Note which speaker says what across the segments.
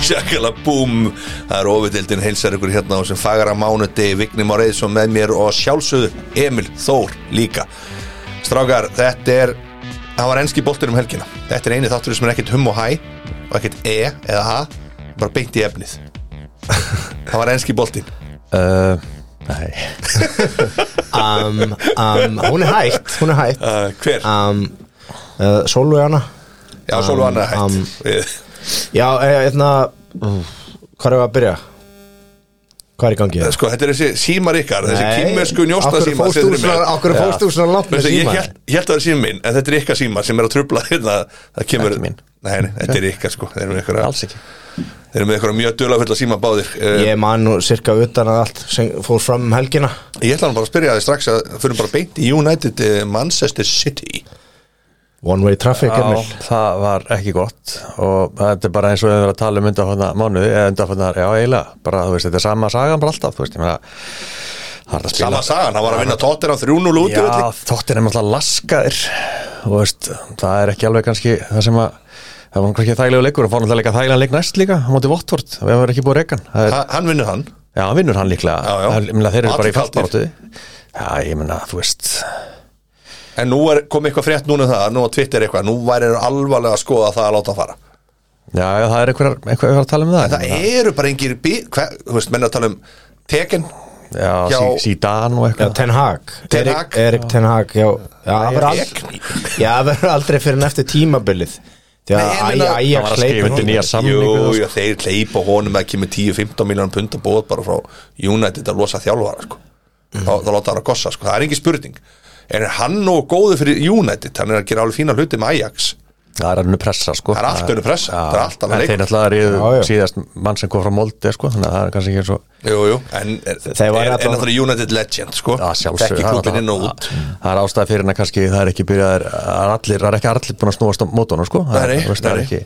Speaker 1: Sjakala búm Það er ofudildin heilsar ykkur hérna á sem fagra mánuti Vigni Már Eðsson með mér og sjálfsögðu Emil Þór líka Strákar, þetta er Það var enski boltur um helgina Þetta er eini þáttur sem er ekkert hum og hæ og ekkert e eða ha bara beint í efnið Það var enski boltin
Speaker 2: uh, Nei
Speaker 3: um, um, Hún er hægt Hún er hægt
Speaker 1: uh, Hver?
Speaker 3: um, uh, Sólveig hana
Speaker 1: Já, Sólu
Speaker 3: um,
Speaker 1: Anna er
Speaker 3: um,
Speaker 1: hægt Við-
Speaker 3: Já, eh, hérna Hvað er að byrja? Hvað er í gangi?
Speaker 1: Sko, þetta er þessi símar ykkar Þessi
Speaker 3: Nei,
Speaker 1: kýmversku njósta
Speaker 3: af hverju
Speaker 1: símar
Speaker 3: fórst þú svona- af hverju fórst þú svona langt með
Speaker 1: Ég
Speaker 3: síma?
Speaker 1: held, ég held að það er síma minn En þetta er ykkar síma sem er að trubla hérna Það kemur
Speaker 2: Ekki minn.
Speaker 1: Nei, nei, þetta er ykkar sko Þeir eru með ykkur
Speaker 2: Alls ekki
Speaker 1: Þeir eru með ykkur mjög dula fulla síma báðir uh,
Speaker 3: Ég man nú cirka utan að allt sem fór fram um helgina
Speaker 1: Ég ætla hann bara að spyrja þið strax að Fyrir bara beint í United uh, Manchester City
Speaker 3: One way traffic, Emil
Speaker 2: Já, það var ekki gott og þetta er bara eins og við verðum að tala um undanfæðna mánuði eða undanfæðna, já eiginlega bara þú veist, þetta er sama sagan bara alltaf þú veist, ég meina það er að spila
Speaker 1: Sama sagan, hann var að vinna tóttir á 3-0 út í
Speaker 2: Já,
Speaker 1: velli.
Speaker 2: þóttir er alltaf laskaðir og veist, það er ekki alveg kannski það sem að það var kannski þægilegu leikur og fór náttúrulega líka þægilegan leik næst líka á móti Votvort, við hefur ekki búið reikan er,
Speaker 1: Ha- Hann vinnur hann
Speaker 2: Já, hann vinnur hann líklega
Speaker 1: Já, já.
Speaker 2: Það er- ég meina, Þeir eru
Speaker 1: Allir
Speaker 2: bara í
Speaker 1: kaldir.
Speaker 2: fallbaráttu Já, ég meina, þú veist
Speaker 1: En nú er, kom eitthvað frétt núna um það Nú á Twitter eitthvað Nú væri alvarlega að skoða það að láta hann fara
Speaker 2: Já, já, það er einhver, einhver að tala um það,
Speaker 1: Það
Speaker 2: Ég meina,
Speaker 1: eru bara engir bí- hver- Þú veist, menn að tala um Tekin
Speaker 2: Já,
Speaker 1: Já.
Speaker 2: já. sídan og
Speaker 3: Já,
Speaker 2: eitthvað
Speaker 3: Ten Hag
Speaker 1: Ten
Speaker 3: Erik-
Speaker 1: Hag.
Speaker 3: Erik Ten Hag, já Já, það verður aldrei-
Speaker 1: Tekin
Speaker 3: já, það verður aldrei fyrir en eftir tímabilið Því
Speaker 1: Nei, ég
Speaker 3: að
Speaker 1: meina-
Speaker 2: Hann var
Speaker 3: æja
Speaker 2: að skrifa undir nýja samning við
Speaker 1: Jú,
Speaker 2: þá,
Speaker 1: já, þeir kleipa honum að kemur 10-15 miljónum pund og bóð bara frá United að losa þjálfara sko. þá, þá láta hann að gossa, sko. það er engin spurning en er hann nú góðu fyrir United hann er að gera alveg fína hluti með Ajax
Speaker 2: Það er alveg pressa, sko
Speaker 1: Það er allt önnur pressa,
Speaker 2: Já.
Speaker 1: það er allt annað
Speaker 2: En
Speaker 1: leikur.
Speaker 2: þeir náttúrulega
Speaker 3: Já, já.
Speaker 2: eru síðast mann sem kom frá Molde, sko Þannig að það er kannski ekki eins og
Speaker 1: jú, jú, en er, er,
Speaker 3: Þeir voru
Speaker 1: er,
Speaker 3: allan-
Speaker 1: náttúrulega United legend sko.
Speaker 2: Já, sjálfsög
Speaker 1: þekki klubin inn og út
Speaker 2: Það er ástæði fyrir hennar kannski Það er ekki byrjaðir Það er allir, það er ekki allir búin að snúast á mótunum sko Það er,
Speaker 1: Nei,
Speaker 2: þú veist, það er
Speaker 1: nei.
Speaker 2: ekki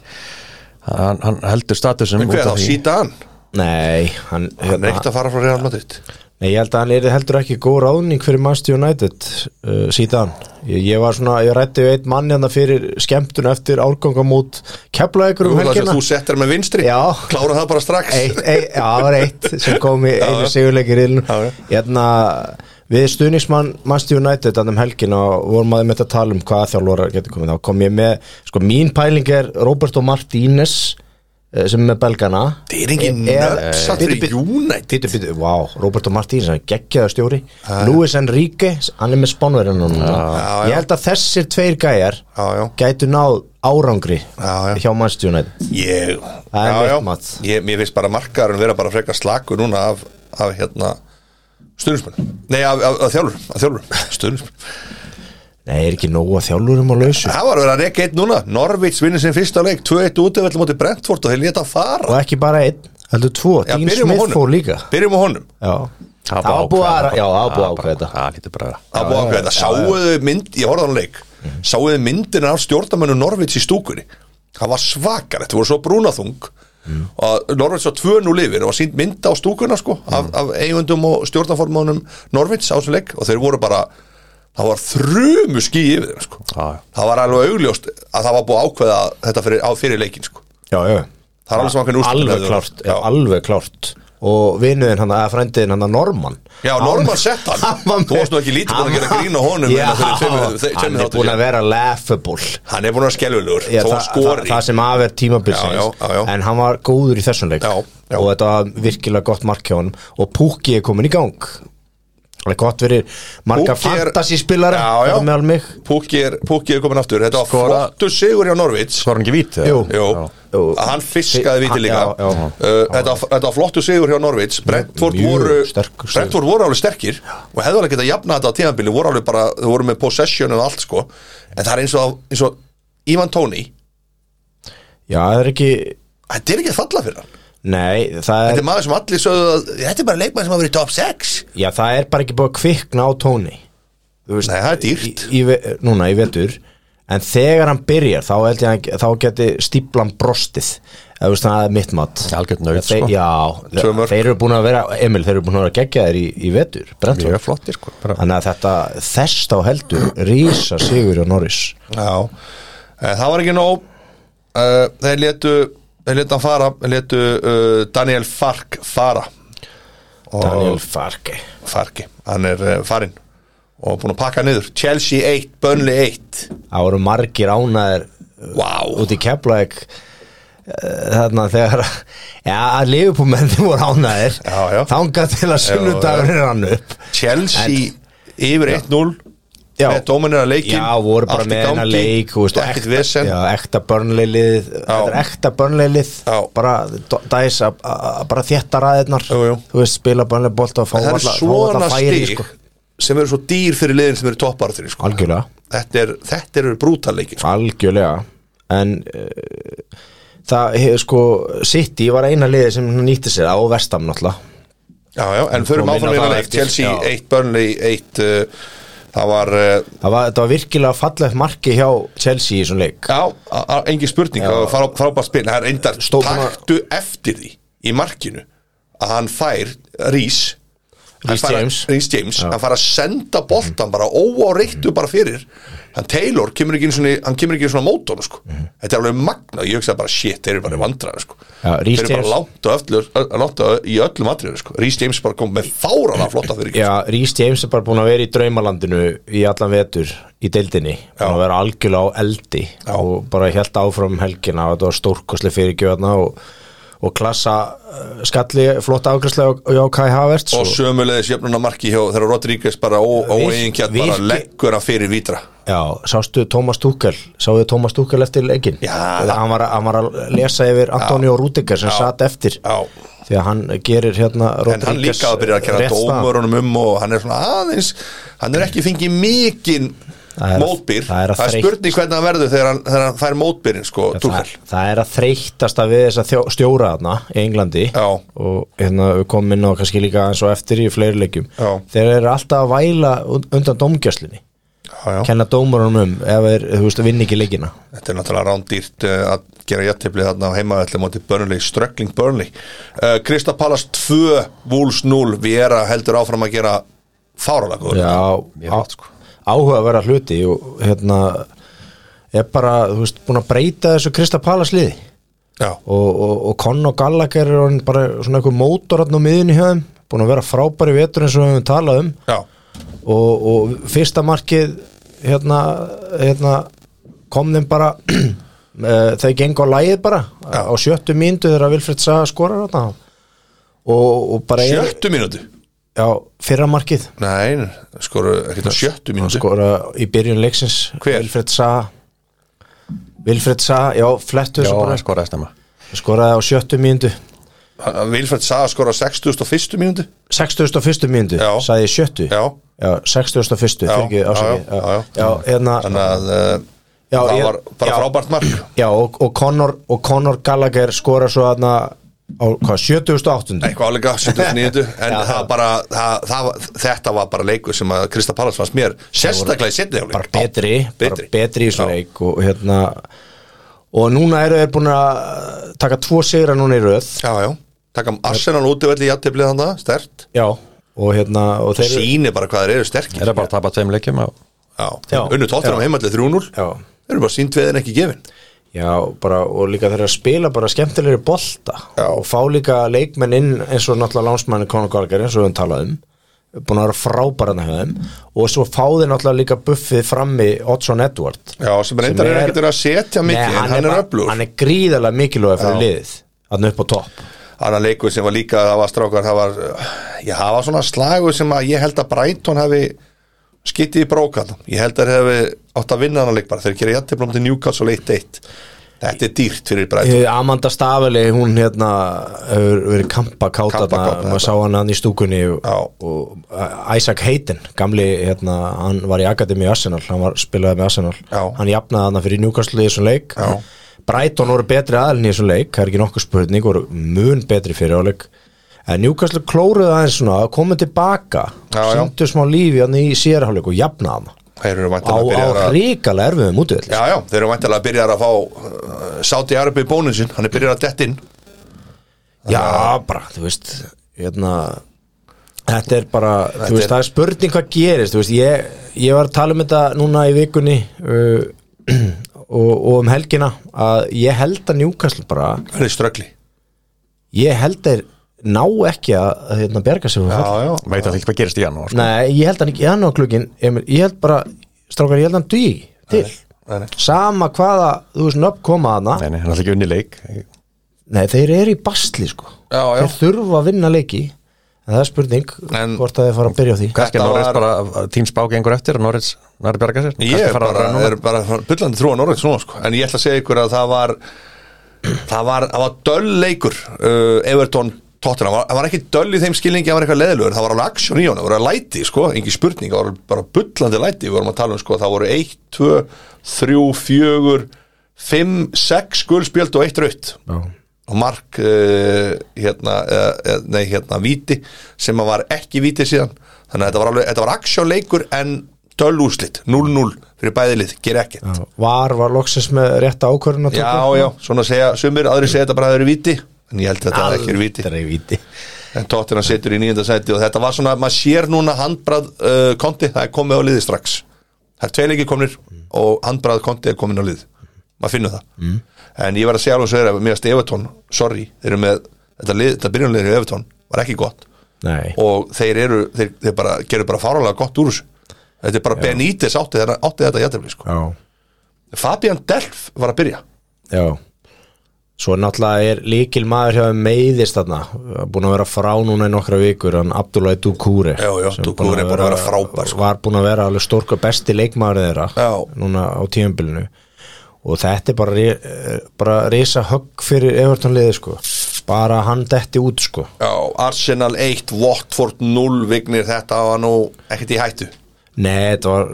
Speaker 2: hann, hann heldur statusum
Speaker 1: Hvað þá, Zidane,
Speaker 3: Nei, hann, hérna,
Speaker 1: hann er ekkert að fara frá Real Madrid
Speaker 3: Nei, ég held að hann er heldur ekki góð ráðning fyrir Manchester United uh, síðan. Ég, ég var svona, ég rætti við einn mann hérna fyrir skemmtun eftir árganga mútt keflaðegur
Speaker 1: Þú,
Speaker 3: um
Speaker 1: það sem
Speaker 3: helgina.
Speaker 1: þú settir með vinstri,
Speaker 3: Já.
Speaker 1: klára það bara strax
Speaker 3: Eitt, eitt, já, það var eitt sem kom í
Speaker 1: já.
Speaker 3: einu sigurleikir ílun.
Speaker 1: Já, já.
Speaker 3: Hérna, við stuðnismann Manchester United annum helgina og vorum aðeins með að tala um hvaða þjálfóra getur komið. Þá kom ég með, sko, mín pæling er Roberto Martínez eh, sem er með belgana.
Speaker 1: Það er engin
Speaker 3: Er-
Speaker 1: nöfsa
Speaker 3: Bíddu,
Speaker 1: fyrir
Speaker 3: bíddu.
Speaker 1: United
Speaker 3: Títu býtu, vá, Roberto Martínez hann er geggjaður stjóri, Luis Enrique hann er með spánverðin núna
Speaker 1: já.
Speaker 3: ég held að þessir tveir gæjar
Speaker 1: Já, já.
Speaker 3: gætu náð árangri
Speaker 1: Já, já.
Speaker 3: hjá Manchester United
Speaker 1: Ég,
Speaker 3: Það
Speaker 1: já,
Speaker 3: er mitt
Speaker 1: já.
Speaker 3: mat.
Speaker 1: ég, mér finnst bara markaðurinn vera bara frekar slaku núna af, af hérna stundismenn, nei af, af, af þjálfur, af þjálfur. stundismenn,
Speaker 3: Nei, er ekki nóg að þjálfurum á lausu
Speaker 1: það var verið að reyka eitt núna Norvits vinnir sinn fyrsta leik, 2-1 útivell mútið Brentford og þeir leta fara
Speaker 3: og ekki bara einn, heldur tvo,
Speaker 1: Já,
Speaker 3: Dean
Speaker 1: byrjum á
Speaker 3: Smith
Speaker 1: honum.
Speaker 3: fór líka
Speaker 1: byrjum á honum,
Speaker 3: Já, það var búið að já, það var búið að ákveða þetta
Speaker 2: Það lítur bara að vera.
Speaker 1: það búið ákveða þetta sáuðu mynd, ég horfði á hann leik
Speaker 3: Mhm.
Speaker 1: sáuðu myndina af stjórnamönu Norvits í stúkunni það var svakar, þetta voru svo brúnaþung
Speaker 3: Mhm.
Speaker 1: og Norvits var 2-0 yfir og var sínt mynda á stúkunna sko af,
Speaker 3: Mhm.
Speaker 1: af eigundum og stjórnaformanum Norvits á þessum leik og þeir voru bara það var þrjumu skí yfir þeim sko.
Speaker 2: Já, já.
Speaker 1: það var alveg augljóst að það var búið að ákveða þetta fyrir, á fyrir leikin sko.
Speaker 3: Já, já,
Speaker 1: Það er alveg sem hann kann úrslit
Speaker 3: Alveg
Speaker 1: hefðu-
Speaker 3: klárt,
Speaker 1: Já.
Speaker 3: alveg klárt og vinuðin hann, eða frændiðin hann að Norman
Speaker 1: Já, Norman sett hann.
Speaker 3: var
Speaker 1: Þú varst nú ekki lítið búin að
Speaker 3: hann
Speaker 1: gera
Speaker 3: var-
Speaker 1: grín á honum
Speaker 3: Já,
Speaker 1: hérna fyrir tveimur- tveimur
Speaker 3: hann er
Speaker 1: þáttum
Speaker 3: búin
Speaker 1: síðan.
Speaker 3: að vera laughable
Speaker 1: hann er búin að vera skelvilegur
Speaker 3: Já,
Speaker 1: þó
Speaker 3: þa
Speaker 1: hann skori
Speaker 3: þa það sem af
Speaker 1: Já, já,
Speaker 3: er
Speaker 1: já, já.
Speaker 3: tímabilsins en hann var góður í þessum leik
Speaker 1: Já, já.
Speaker 3: og þetta var virkilega gott mark hjá hann og Pukki er komin í gang það er gott fyrir marga
Speaker 1: Pukki er-
Speaker 3: fantasyspilara
Speaker 1: Já, já.
Speaker 3: þar meðal mig
Speaker 1: Pukki er, Pukki er komin aftur þetta var
Speaker 2: Skora-
Speaker 1: flottu sigur hjá Norvits
Speaker 2: Skor hann ekki vít? eða?
Speaker 3: Jú.
Speaker 1: Jú,
Speaker 3: Já.
Speaker 1: að hann fiskaði viti líka
Speaker 3: Já, já.
Speaker 1: Uh, þetta, þetta var flottu sigur hjá Norvits Brentford
Speaker 3: Mjög
Speaker 1: voru,
Speaker 3: sterkur sigur.
Speaker 1: Brentford voru alveg sterkir og hefðu alveg getað jafna þetta á tíðanbili voru alveg bara, þau voru með possession og allt sko en það er eins og, eins og Ivan Tóni,
Speaker 3: já, það er ekki
Speaker 1: þetta er ekki að falla fyrir hann
Speaker 3: nei, það
Speaker 1: þetta
Speaker 3: er,
Speaker 1: er maður sem allir sögðu að þetta er bara leikmann sem hafa verið í top 6
Speaker 3: já, það er bara ekki búið að kvikna á tóni Þú veist,
Speaker 1: nei, það er
Speaker 3: í,
Speaker 1: dýrt
Speaker 3: í, ve- núna í vetur en þegar hann byrjar þá held ég að þá geti stíplan brostið eða þú veist það er mitt mat
Speaker 2: Algjört naut,
Speaker 3: Þeir-
Speaker 2: sko.
Speaker 3: já,
Speaker 1: Tvö mörk.
Speaker 3: þeir eru búin að vera Emil, þeir eru búin að vera geggja þér í, í vetur
Speaker 2: Mjög
Speaker 3: Brentford.
Speaker 2: flottir sko bara.
Speaker 3: þannig að þetta þess þá heldur rísa sigur á Norris
Speaker 1: Já, Eh, það var ekki nóg Eh, Uh, Þeir letu þeir letu hann fara, þeir letu uh, Daniel Fark fara og
Speaker 3: Daniel Farke
Speaker 1: Farki, hann er uh, farinn og búin að pakka niður, Chelsea 1 Burnley 1,
Speaker 3: Það voru margir ánæðir
Speaker 1: wow
Speaker 3: út í Keflæk þarna þegar já, liðupúmenni voru ánæðir
Speaker 1: Já, já.
Speaker 3: þangað til að sunnudagur er hann upp
Speaker 1: Chelsea yfir 1-0
Speaker 3: Já.
Speaker 1: með dóminir að leikin
Speaker 3: Já, voru bara með hennar leik þú veist,
Speaker 1: og ekkert vesen
Speaker 3: já, ekta börnleilið Þetta er ekta börnleilið
Speaker 1: Já.
Speaker 3: bara d- dæs að að- bara þétta ræðirnar
Speaker 1: Jú, jú.
Speaker 3: þú veist, spila börnleibolt og fá
Speaker 1: það er
Speaker 3: alla- fá alla
Speaker 1: svona
Speaker 3: færi,
Speaker 1: stig
Speaker 3: sko.
Speaker 1: sem eru svo dýr fyrir liðin sem eru topparður sko.
Speaker 3: algjörlega
Speaker 1: þetta, er, þetta eru brútaleikin sko.
Speaker 3: algjörlega en uh, það hefur sko City var eina liðið sem nýtti sér það og vestam náttúrulega
Speaker 1: já, já, en förum
Speaker 3: Kom inn á
Speaker 1: áfram í
Speaker 3: það
Speaker 1: leik
Speaker 3: eftir,
Speaker 1: Chelsea
Speaker 3: já.
Speaker 1: 1 Burnley 1 uh, það var uh,
Speaker 3: það var, þetta var virkilega fallegt marki hjá Chelsea í þessum leik
Speaker 1: Já, a- a- engin spurning það var frá, frábært spil, það er endar
Speaker 3: Stóð bara-
Speaker 1: taktu eftir því í markinu að hann fær Rís
Speaker 3: Reece James.
Speaker 1: Rís James, hann fær að senda boltan bara óáreittu bara fyrir hann Taylor kemur ekki einu sinni, hann kemur ekki einu svona mótón sko. þetta er alveg magna, ég hugsaði bara shit, þeir eru bara vandrar sko.
Speaker 3: Mhm. Já,
Speaker 1: þeir
Speaker 3: Reece
Speaker 1: eru bara
Speaker 3: James-
Speaker 1: langt og öflur, langt og í öllum atriður sko. Rís James bara kom með fárana flotta fyrir
Speaker 3: Já, Rhys James er bara búin að vera í draumalandinu í allan vetur í deildinni búin að vera algjörlega á eldi
Speaker 1: Já.
Speaker 3: og bara helt áfram um helgina og þetta var stórkosli fyrir gjöðna og, og klassa eh, skalli flotta ágræslega og já, Kai Havertz
Speaker 1: og sömulegis jöfnuna marki hjá þegar Rodríguez bara ó-
Speaker 3: Virk-
Speaker 1: óeiginkjarn bara
Speaker 3: virki-
Speaker 1: leggur hann fyrir vítra
Speaker 3: Já, sástu Tómas Túkel Sáðu Tómas Túkel eftir leikin
Speaker 1: Já.
Speaker 3: hann var, hann var að lesa yfir Antonio Rúdingar sem
Speaker 1: Já.
Speaker 3: satt eftir
Speaker 1: Já.
Speaker 3: því að hann gerir hérna
Speaker 1: en hann
Speaker 3: Rodríguez
Speaker 1: líka að byrja að kæra
Speaker 3: rétt stað.
Speaker 1: dómurunum um og hann er svona aðeins hann er ekki fengið mikinn
Speaker 3: Það er-
Speaker 1: mótbyr,
Speaker 3: það er að þreytt.
Speaker 1: spurning hvernig hann verður þegar hann, þegar hann fær mótbyrin sko,
Speaker 3: það,
Speaker 1: Tuchel.
Speaker 3: það er að þreytast að við þess að þjó- stjóra þarna í Englandi
Speaker 1: Já.
Speaker 3: og hérna við komum inn á kannski líka eins og eftir í fleiri leikjum
Speaker 1: Já.
Speaker 3: þeir eru alltaf að væla und- undan dómgjöslinni
Speaker 1: já, já.
Speaker 3: kenna dómurunum um ef þeir þú veist, vinni ekki leikina
Speaker 1: þetta er náttúrulega rándýrt uh, að gera jættiflið þarna á heimaðalli móti Burnley, Ströggling Burnley uh, Krista Pallas 2, Wolves 0 Viera heldur áfram að gera fáralega góður
Speaker 3: Já, á-
Speaker 1: sko.
Speaker 3: áhuga að vera hluti og hérna er bara, þú veist, búin að breyta þessu Krista Palas liði
Speaker 1: Já.
Speaker 3: og, og, og Conn og Gallagher er orðinn bara svona einhver mótor hann á miðinni hjá þeim búin að vera frábæri vetur eins og við höfum talað um
Speaker 1: Já.
Speaker 3: og, og fyrsta markið hérna, hérna kom þeim bara eh, þau gengu á lægið bara
Speaker 1: Já.
Speaker 3: á sjöttu mínútu þegar Vilfred Saga skorar þarna og, og bara
Speaker 1: sjöttu mínútu
Speaker 3: já, fyrra markið
Speaker 1: nei, skoru, ekkert á sjöttu
Speaker 3: hann
Speaker 1: mínútu
Speaker 3: skora í byrjun leiksins
Speaker 1: Hver?
Speaker 3: Vilfred Saha Vilfred Saha, já, flettu
Speaker 2: Já,
Speaker 3: þessu bara
Speaker 2: hann skoraði snemma
Speaker 3: skoraði á sjöttu mínútu sko-
Speaker 1: Vilfrætt Saga skora 61. mínútu
Speaker 3: 61. mínútu,
Speaker 1: Já.
Speaker 3: sagði ég sjöttu
Speaker 1: Já.
Speaker 3: já 61.
Speaker 1: Já,
Speaker 3: fyrir ekki ásakið
Speaker 1: já, já, já.
Speaker 3: já, hérna
Speaker 1: þannig að uh,
Speaker 3: Já,
Speaker 1: það
Speaker 3: ég-
Speaker 1: var bara
Speaker 3: já.
Speaker 1: frábært mark
Speaker 3: já, og, og, Conor, og Conor Gallagher skora svo þarna á hvað, 78.
Speaker 1: eitthvað álega 79 en
Speaker 3: Já,
Speaker 1: það
Speaker 3: já.
Speaker 1: bara, það, það, var- þetta var bara leikur sem að Krista Pallas fannst mér sérstaklega í setni
Speaker 3: bara betri,
Speaker 1: betri.
Speaker 3: bara betri í svona
Speaker 1: Já.
Speaker 3: leik og hérna og núna eru þeir búin að taka tvo sigra núna í röð
Speaker 1: já, já, takkum Arsenal útivelli í játtiflið þannig að stert
Speaker 3: já, og hérna og þeir,
Speaker 1: síni bara hvað þeir eru sterkir
Speaker 2: Það er bara að tapa tveim leikjum á
Speaker 1: já,
Speaker 3: Já.
Speaker 1: unnu tóttunum
Speaker 3: Já.
Speaker 1: heimallið 3-0
Speaker 3: já,
Speaker 1: þeir eru bara sínt veðin ekki gefin
Speaker 3: Já, bara, og líka þeir eru að spila bara skemmtilegri bolta
Speaker 1: Já.
Speaker 3: og fá líka leikmenn inn eins og náttúrulega lánsmanni Conor Gallagher eins og við höfum talað um búin að vera frábærarna hjá þeim og svo fá þeir náttúrulega líka buffið frammi Oddsson Edward
Speaker 1: já, sem reyndar er
Speaker 3: er-
Speaker 1: ekkert verið að setja mikið en hann, er
Speaker 3: bara-
Speaker 1: öflugur
Speaker 3: Hann er gríðarlega mikilvæg fyrir
Speaker 1: Já.
Speaker 3: liðið hann upp á topp
Speaker 1: annar leikur sem var líka það var strákar, það var, ég hafa svona slagur sem að ég held að Brighton hafi skitið í brókan ég held að þeir hefði átt að vinna annar leik bara þeir gera jættiblóm til Newcastle 1-1 þetta er dýrt fyrir Brighton
Speaker 3: Eh, Amanda Stafeli, hún hérna hefur verið kampa
Speaker 1: Kampakát,
Speaker 3: kátana
Speaker 1: þetta.
Speaker 3: maður sá hann hann í stúkunni og,
Speaker 1: Já.
Speaker 3: og eh, Isaac Hayden, gamli hérna, hann var í Akademi í Arsenal hann var, spilaði með Arsenal,
Speaker 1: Já.
Speaker 3: hann jafnaði hann fyrir Newcastle í þessum leik
Speaker 1: Já.
Speaker 3: Brighton voru betri aðalinn í þessum leik, það er ekki nokkuð spurning voru mun betri fyrir áleik en Newcastle klóruði aðeins svona komið tilbaka,
Speaker 1: Já, já.
Speaker 3: síndu smá lífi hann í sérháleik og jafnaði hann
Speaker 1: þeir eru
Speaker 3: á,
Speaker 1: væntanlega
Speaker 3: á
Speaker 1: byrjar að
Speaker 3: ríkala erfiðum útvöld
Speaker 1: já, já, þeir eru væntanlega byrjar að fá uh, Saudi Arabi bónun sinn, hann er byrjar að dett inn
Speaker 3: Já, bara, þú veist hérna, Þetta er bara,
Speaker 1: Þetta
Speaker 3: þú veist,
Speaker 1: er-
Speaker 3: það er spurning hvað gerist, þú veist, ég, ég var að tala um þetta núna í vikunni uh, og, og um helgina að ég held að Newcastle bara
Speaker 1: Það er ströggli
Speaker 3: ég held að ná ekki að að, hérna, bjarga sig frá falli.
Speaker 1: já
Speaker 2: veit að það ekki hvað gerist í janúar sko.
Speaker 3: Nei, ég held að ekki hann á klukkinn Emil, ég held bara, strákar, ég held að hann dugi til
Speaker 1: Nei, nei.
Speaker 3: sama hvaða, þú veist, nöfn koma hana
Speaker 2: Nei, nei, hann er alltaf ekki unni leik
Speaker 3: Nei, þeir eru í basli sko
Speaker 1: Já, já.
Speaker 3: Þeir þurfa að vinna leiki En það er spurning
Speaker 1: En-
Speaker 3: hvort að þeir fara að byrja á því
Speaker 2: Kannski
Speaker 1: Þetta
Speaker 2: að Norris
Speaker 1: var-
Speaker 2: bara, tímsbá gengur eftir og Norris nær að bjarga sér
Speaker 1: Ég
Speaker 2: Kannski
Speaker 1: er
Speaker 2: fara að
Speaker 1: bara,
Speaker 2: núna.
Speaker 1: er bara byllandi þrúan orðið svona sko. en ég ætla að segja ykkur að það var það var, það var döll leikur uh, Everton Tottenham, það var, það var ekki döll í þeim skilningi það var eitthvað leðilegur, það var alveg aksjón í honum það voru læti, sko, engin spurning það voru bara byllandi læti, við vorum að tala um sko, það voru 1, 2, 3, 4 5, 6 guldspjöld og 1 raut
Speaker 3: Já.
Speaker 1: og mark uh, hérna, uh, nei, hérna viti sem að var ekki viti síðan þannig að þetta var, alveg, þetta var aksjónleikur en dölúslit, 0-0 fyrir bæðilið, ger ekkert já,
Speaker 3: Var, var loksins með rétta ákvörðun að
Speaker 1: já,
Speaker 3: taka
Speaker 1: svona segja sumir, aðri segja þetta bara að það eru viti en ég held að þetta hafi ekki verið viti
Speaker 3: Aldrei viti
Speaker 1: en Tottenham setur í nýjönda sæti og þetta var svona, maður sér núna handbrað uh, konti, það er komið á liði strax það er tveileiki komnir og handbrað konti er komin á lið maður finnur það en ég var að segja alveg svo er að mér að Evertón, sorry, þeir eru með þetta, lið, þetta byrjunlega í Evertón var ekki gott
Speaker 3: Nei
Speaker 1: og þeir eru, þeir, þeir bara gerur bara fáralega gott úr þessu þetta er bara Benítez átti, þeirra, átti þetta jættefli sko.
Speaker 3: Já,
Speaker 1: Fabian Delf var að byrja
Speaker 3: já Svo náttúrulega er líkil maður hjá þeim meiðist þarna Búin að vera frá núna í nokkra vikur Hann Abdullah Dukure
Speaker 1: Já, já,
Speaker 3: sem
Speaker 1: Doucouré er búinn að vera frábær, sko.
Speaker 3: Var búin að vera alveg stórka besti leikmaður þeirra
Speaker 1: Já.
Speaker 3: Núna á tíumbilinu Og þetta er bara, ri- eh, bara Risa högg fyrir Everton liði sko Bara að hann detti út sko
Speaker 1: Já, Arsenal 1, Watford 0 vignir þetta var nú ekkert í hættu
Speaker 3: Nei, þetta var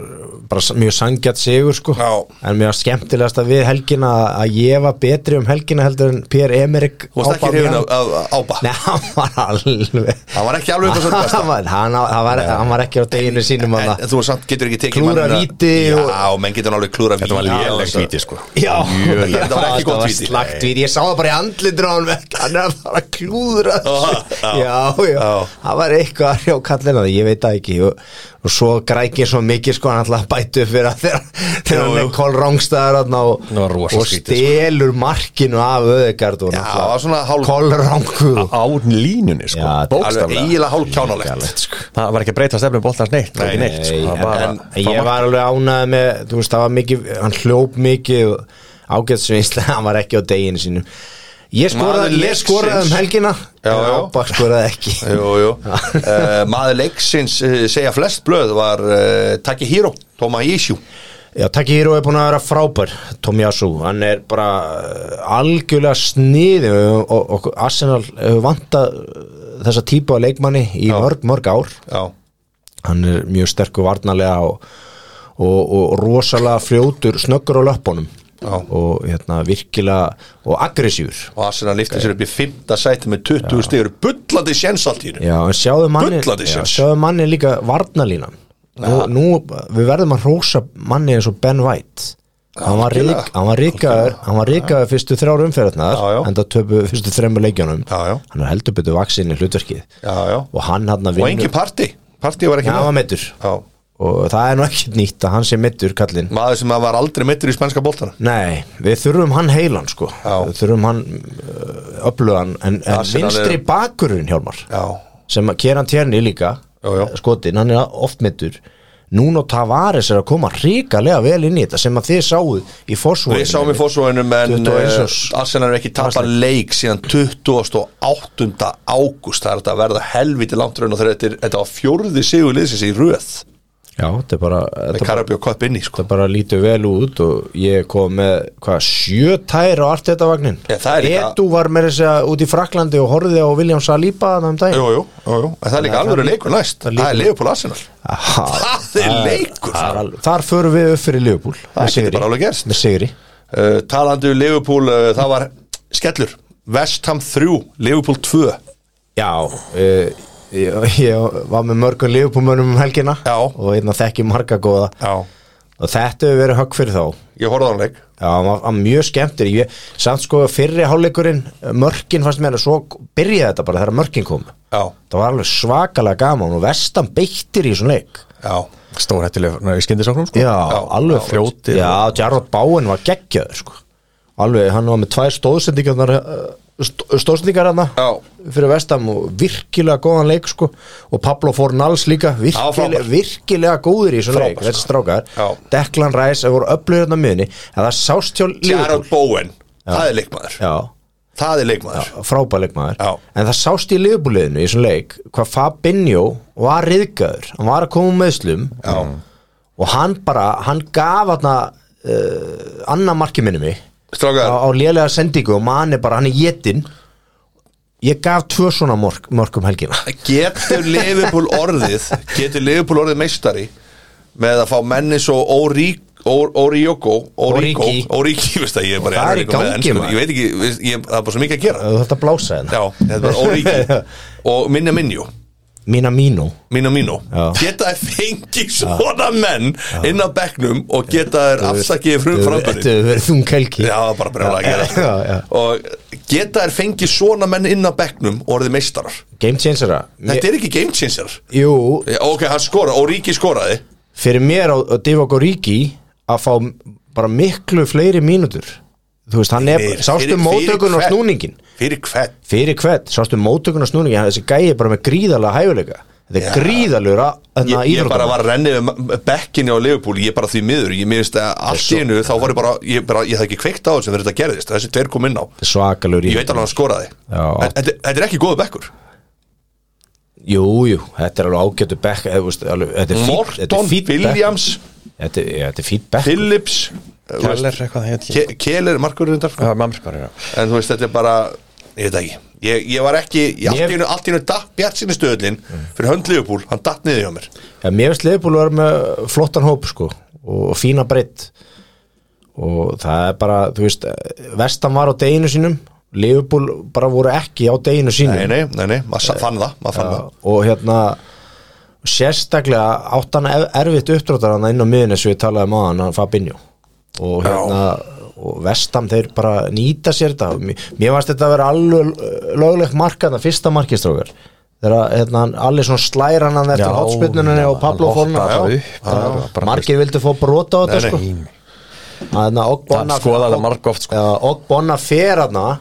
Speaker 3: bara s- mjög sangjart sigur sko
Speaker 1: Já.
Speaker 3: En mjög skemmtilegast að við helgina að ég var betri um helgina heldur en Pér Emmerich
Speaker 1: Þú varst ekki hrifin af, af, af ába
Speaker 3: Nei, hann var alveg
Speaker 1: Hann var ekki alveg upp á sitt besta.
Speaker 3: hann, var, hann, var, hann var ekki á deginu sínum
Speaker 1: en,
Speaker 3: að
Speaker 1: en þú samt getur ekki tekið
Speaker 3: Klúðra
Speaker 1: mannina-
Speaker 3: víti
Speaker 1: Já,
Speaker 3: og-
Speaker 1: menn getur alveg klúra víti
Speaker 2: Þetta var
Speaker 1: Já,
Speaker 2: léleg
Speaker 1: þess að-
Speaker 2: víti sko
Speaker 3: Já,
Speaker 1: þetta
Speaker 2: Mjög léleg.
Speaker 1: var ekki gott
Speaker 3: var
Speaker 1: víti.
Speaker 3: slagt víti Ég sá það bara í andlindur á hann Hann er bara að klúðra þessu.
Speaker 1: Já, já.
Speaker 3: Já,
Speaker 1: Ah,
Speaker 3: já,
Speaker 1: Já.
Speaker 3: það var eitthvað að hrjá kallina Ég veit það ekki Og, og svo grækir svo mikið sko Hann alltaf bætu upp fyrir að þegar Þegar
Speaker 1: Jú,
Speaker 3: hann er
Speaker 1: jú.
Speaker 3: kól rángstæðar þarna og,
Speaker 2: Það var rosa
Speaker 3: og
Speaker 2: skrítið, sko.
Speaker 3: stelur markinu af öðegard
Speaker 1: Já, það var svona hálf
Speaker 3: Kól rángur
Speaker 2: Á línunni sko
Speaker 3: Já,
Speaker 1: Alveg
Speaker 2: Bókstaflega
Speaker 1: eiginlega hálf kjánalegt sko.
Speaker 2: Það var ekki að breyta stefnum bóltans neitt
Speaker 1: Nei,
Speaker 2: Nei, neitt sko.
Speaker 3: Nei,
Speaker 2: Það
Speaker 3: en,
Speaker 2: bara-
Speaker 3: en,
Speaker 2: það
Speaker 3: ég var alveg ánæði með þú veist, það var mikið, hann hljóp mikið ágætsvinnslega, hann var ekki á deginu sínum ég
Speaker 1: Maður
Speaker 3: skoraði, ég
Speaker 1: leiksins.
Speaker 3: skoraði um helgina
Speaker 1: Já, já.
Speaker 3: Ába skoraði ekki
Speaker 1: Jú, jú uh, Maður leiksins uh, segja flest blöð var uh, Taki Hiro, Toma Ishu
Speaker 3: já, Takihiro er búin að vera frábær Tomiyasu, hann er bara uh, algjörlega sniði og, og, og Arsenal hefur vantað uh, þessa típu af leikmanni í mörg, mörg ár
Speaker 1: Já
Speaker 3: hann er mjög sterkur varnarlega og, og, og rosalega fljótur snöggur á löppunum
Speaker 1: Já.
Speaker 3: og hérna virkilega og aggressífur
Speaker 1: og Arsenal lifti sér upp í fymta sæti með 20 stigur, bullandi séns allt í hennu
Speaker 3: Já, en sjáðu manni,
Speaker 1: Bullandi
Speaker 3: já,
Speaker 1: séns.
Speaker 3: sjáðu manni líka varnalínan nú, nú, við verðum að rósa manni eins og Ben White hann var,
Speaker 1: Algjörlega.
Speaker 3: rík, hann var ríkaður hann var ríkaður fyrstu þrjár umferðnar
Speaker 1: Já, já.
Speaker 3: en það töpu fyrstu þremur leikjunum
Speaker 1: Já, já.
Speaker 3: hann er heldur betur vaksin í hlutverkið
Speaker 1: Já, já.
Speaker 3: og hann hann að
Speaker 1: og
Speaker 3: vinna
Speaker 1: engin parti, parti var ekki
Speaker 3: hann var
Speaker 1: með
Speaker 3: meittur
Speaker 1: já.
Speaker 3: og það er nú ekkert nýtt að hann sé meittur kallinn
Speaker 1: maður sem var aldrei meittur í spænska boltana
Speaker 3: Nei, við þurfum hann heilan sko
Speaker 1: Já.
Speaker 3: Við þurfum hann uh, öflugan en, en
Speaker 1: Arsenal er-
Speaker 3: vinstri bakurinn Hjálmar
Speaker 1: já,
Speaker 3: sem að Kieran Tjerni líka
Speaker 1: Já, já.
Speaker 3: skotin, hann er oft meittur Núna Tavares er að koma ríkalega vel inn í þetta sem að þið sáuð í fórsvóðinu
Speaker 1: við sáum í fórsvöðunum en
Speaker 3: 21
Speaker 1: eh,
Speaker 3: árs.
Speaker 1: Arsenal er ekki tapað leik síðan 28. ágúst það er þetta að verða helviti langt raun og þegar þetta, er- þetta var fjórði sigur liðsins í röð
Speaker 3: Já, þetta er bara,
Speaker 1: með
Speaker 3: þetta, bara,
Speaker 1: Karabjörg Kopp inn í sko.
Speaker 3: þetta bara lítur vel út og ég kom með hvað, sjö tær á allt þetta vagnin
Speaker 1: Já, það er líka-
Speaker 3: Edu var með þess að út í Fraklandi og horfði á William Saliba þannig um daginn
Speaker 1: jú, jú, jú, jú. En það er líka
Speaker 3: Það er
Speaker 1: alveg
Speaker 3: líka-
Speaker 1: leikur næst
Speaker 3: það er
Speaker 1: það
Speaker 3: líka-
Speaker 1: er Leopold Arsenal
Speaker 3: Aha,
Speaker 1: það er leikur
Speaker 3: Þar, þar förum við upp fyrir Liverpool
Speaker 1: Það
Speaker 3: með
Speaker 1: getur
Speaker 3: sigri.
Speaker 1: bara alveg gerst.
Speaker 3: Með sigri
Speaker 1: uh, talandi um Liverpool uh, það var skellur West Ham 3, Liverpool 2
Speaker 3: Já uh, ég, ég var með mörgum Liverpool-mönnum um helgina
Speaker 1: Já.
Speaker 3: Og einna þekki marga góða
Speaker 1: Já.
Speaker 3: Og þetta hefur verið högg fyrir þá
Speaker 1: ég horfði á hann leik
Speaker 3: Já, hann var, hann var mjög skemmtur ég, Samt sko fyrri hálfleikurinn Mörkin fannst mér að svo byrjaði þetta bara þegar mörkin kom
Speaker 1: Já.
Speaker 3: Það var alveg svakalega gaman Og vestan beittir í svona leik
Speaker 1: já,
Speaker 2: Stór hættilega í skyndisóknum sko.
Speaker 3: Já, alveg
Speaker 2: já,
Speaker 3: fljóti
Speaker 2: fljótið.
Speaker 3: Já,
Speaker 1: sko.
Speaker 3: Jarrod Bowen var geggjöður sko. Alveg, hann var með tvær stóðsendingar stóðsendingar hann
Speaker 1: Já.
Speaker 3: fyrir vestam og virkilega góðan leik sko. og Pablo Fornals líka
Speaker 1: Já,
Speaker 3: virkilega,
Speaker 1: frábær.
Speaker 3: virkilega góður í svona
Speaker 1: Frábær,
Speaker 3: leik
Speaker 1: sko.
Speaker 3: þessi strákar,
Speaker 1: Já.
Speaker 3: Declan Rice það voru öflugir hann á miðunni, en það sást hjá
Speaker 1: Gerard
Speaker 3: Liverpool
Speaker 1: Bowen það er leikmaður,
Speaker 3: Já,
Speaker 1: það er leikmaður
Speaker 3: frábæleikmaður
Speaker 1: Já.
Speaker 3: en það sást í liðbúliðinu í svona leik hvað Fabinho var riðgæður hann var að koma um meðslum
Speaker 1: já,
Speaker 3: og hann bara, hann gaf hann uh, annar marki minni mig
Speaker 1: strákar,
Speaker 3: á, á lélega sendingu og manni bara, hann er jetin ég gaf tvö svona mörg, mörg um helgina
Speaker 1: getur Liverpool orðið getur Liverpool orðið meistari með að fá menni svo Orioko Orico,
Speaker 3: Origi.
Speaker 1: Origi, veist það, ég er bara
Speaker 3: Það
Speaker 1: erfiður
Speaker 3: er í gangi,
Speaker 1: með ensku.
Speaker 3: maður.
Speaker 1: ég veit ekki, veist, ég, það er bara svo mikið að gera
Speaker 3: þú þarft að blása hérna. henn
Speaker 1: já, þetta var Origi og Minna Minjó
Speaker 3: mína mínu
Speaker 1: Minna Minjó,
Speaker 3: Já.
Speaker 1: geta að fengi svona menn inn á bekknum og geta þær afsakið frum framburinn
Speaker 3: þetta hefur verið þung helgi
Speaker 1: Já, það var bara brjóla að
Speaker 3: Já,
Speaker 1: gera sko.
Speaker 3: já, já.
Speaker 1: Og geta þær fengið svona menn inn á bekknum og orðið meistarar
Speaker 3: game changera
Speaker 1: Þetta er ekki game changer
Speaker 3: jú,
Speaker 1: Já, Ok, hann skoraði og Ríki skoraði
Speaker 3: fyrir mér og, og Divock Origi að fá bara miklu fleiri mínútur þú veist, hann er,
Speaker 1: Fyrir-
Speaker 3: sástu
Speaker 1: fyrir-
Speaker 3: mótökun
Speaker 1: fyrir
Speaker 3: og
Speaker 1: hvern?
Speaker 3: snúningin
Speaker 1: Fyrir hvern?
Speaker 3: fyrir hvert, sástu mótökun og snúningin hann- þessi gæi er bara með gríðalega hæfuleika þetta
Speaker 1: Já.
Speaker 3: er gríðalur að
Speaker 1: Ég, ég bara var að renni við bekkinni á Leifupúl Ég bara því miður, ég minnst að allt í einu Þá var ég bara, ég, bara, ég hafði ekki kveikt á þessum þegar þetta gerðist Þessi tveir kom inn á
Speaker 3: svakalur í
Speaker 1: Ég veit alveg að hann skoraði
Speaker 3: Já.
Speaker 1: En- Þetta þetta er ekki góðu bekkur
Speaker 3: Jú, jú, þetta er alveg ágætu bekk eða, þú veist, alveg, Þetta er fínt- þetta er
Speaker 1: Morton,
Speaker 3: fínt bekk.
Speaker 1: Williams,
Speaker 3: Þetta er- já, þetta er fít bekk
Speaker 1: Phillips eh,
Speaker 2: Keller, eitthvað, ég veit ekki.
Speaker 1: Keller, Markur Rundar
Speaker 2: Já, mamma bara, já
Speaker 1: sko. en þú veist þetta er bara ég veit ekki, ég, ég var ekki ég allt í
Speaker 3: Mér- Mm.
Speaker 1: einu, allt í einu datt bjart sinni stöðlin fyrir hönd Liverpool, hann datt niður hjá mér
Speaker 3: ja, Mér finnst Leifbúl var með flottan hóp sko, og fína breytt og það er bara þú veist, vestan var á deginu sínum Leifbúl bara voru ekki á deginu sínum
Speaker 1: nei, nei, nei, nei, maður sa- fann það maður fann
Speaker 3: Já, og hérna sérstaklega átt hann er- erfitt uppdráttar hann inn á miðinu sem við talaði maður hann Fabinho og hérna og vestam þeir bara nýta sér þetta mér mér varst þetta að vera alveg löglegt markað það fyrsta markistrókar þegar hérna, allir svona slæra hann eftir
Speaker 2: Já,
Speaker 3: hotspinnunni
Speaker 2: já,
Speaker 3: og Pablo
Speaker 2: hann
Speaker 3: Forna
Speaker 2: hoppar
Speaker 3: Já,
Speaker 2: upp, bara-
Speaker 3: já,
Speaker 2: bara-
Speaker 3: margir vildu fá brota á þetta
Speaker 1: Nei,
Speaker 3: sko
Speaker 2: Nei,
Speaker 3: Að hérna, og
Speaker 2: Það
Speaker 3: Bonna
Speaker 2: skoðaði
Speaker 3: og-
Speaker 2: margoft, sko.
Speaker 3: Já, og Bonna fer hana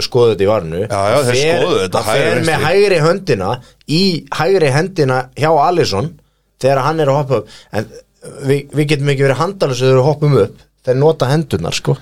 Speaker 3: skoðu þetta í
Speaker 1: Já,
Speaker 3: varnu
Speaker 1: já, þeir
Speaker 3: Fer-
Speaker 1: skoðuðu þetta,
Speaker 3: hann fer
Speaker 1: hægri,
Speaker 3: með
Speaker 1: vinstri.
Speaker 3: hægri höndina í hægri hendina hjá Alisson þegar hann er að hoppa upp en við, við getum ekki verið handalins þegar við hoppum upp þeir nota hendunar sko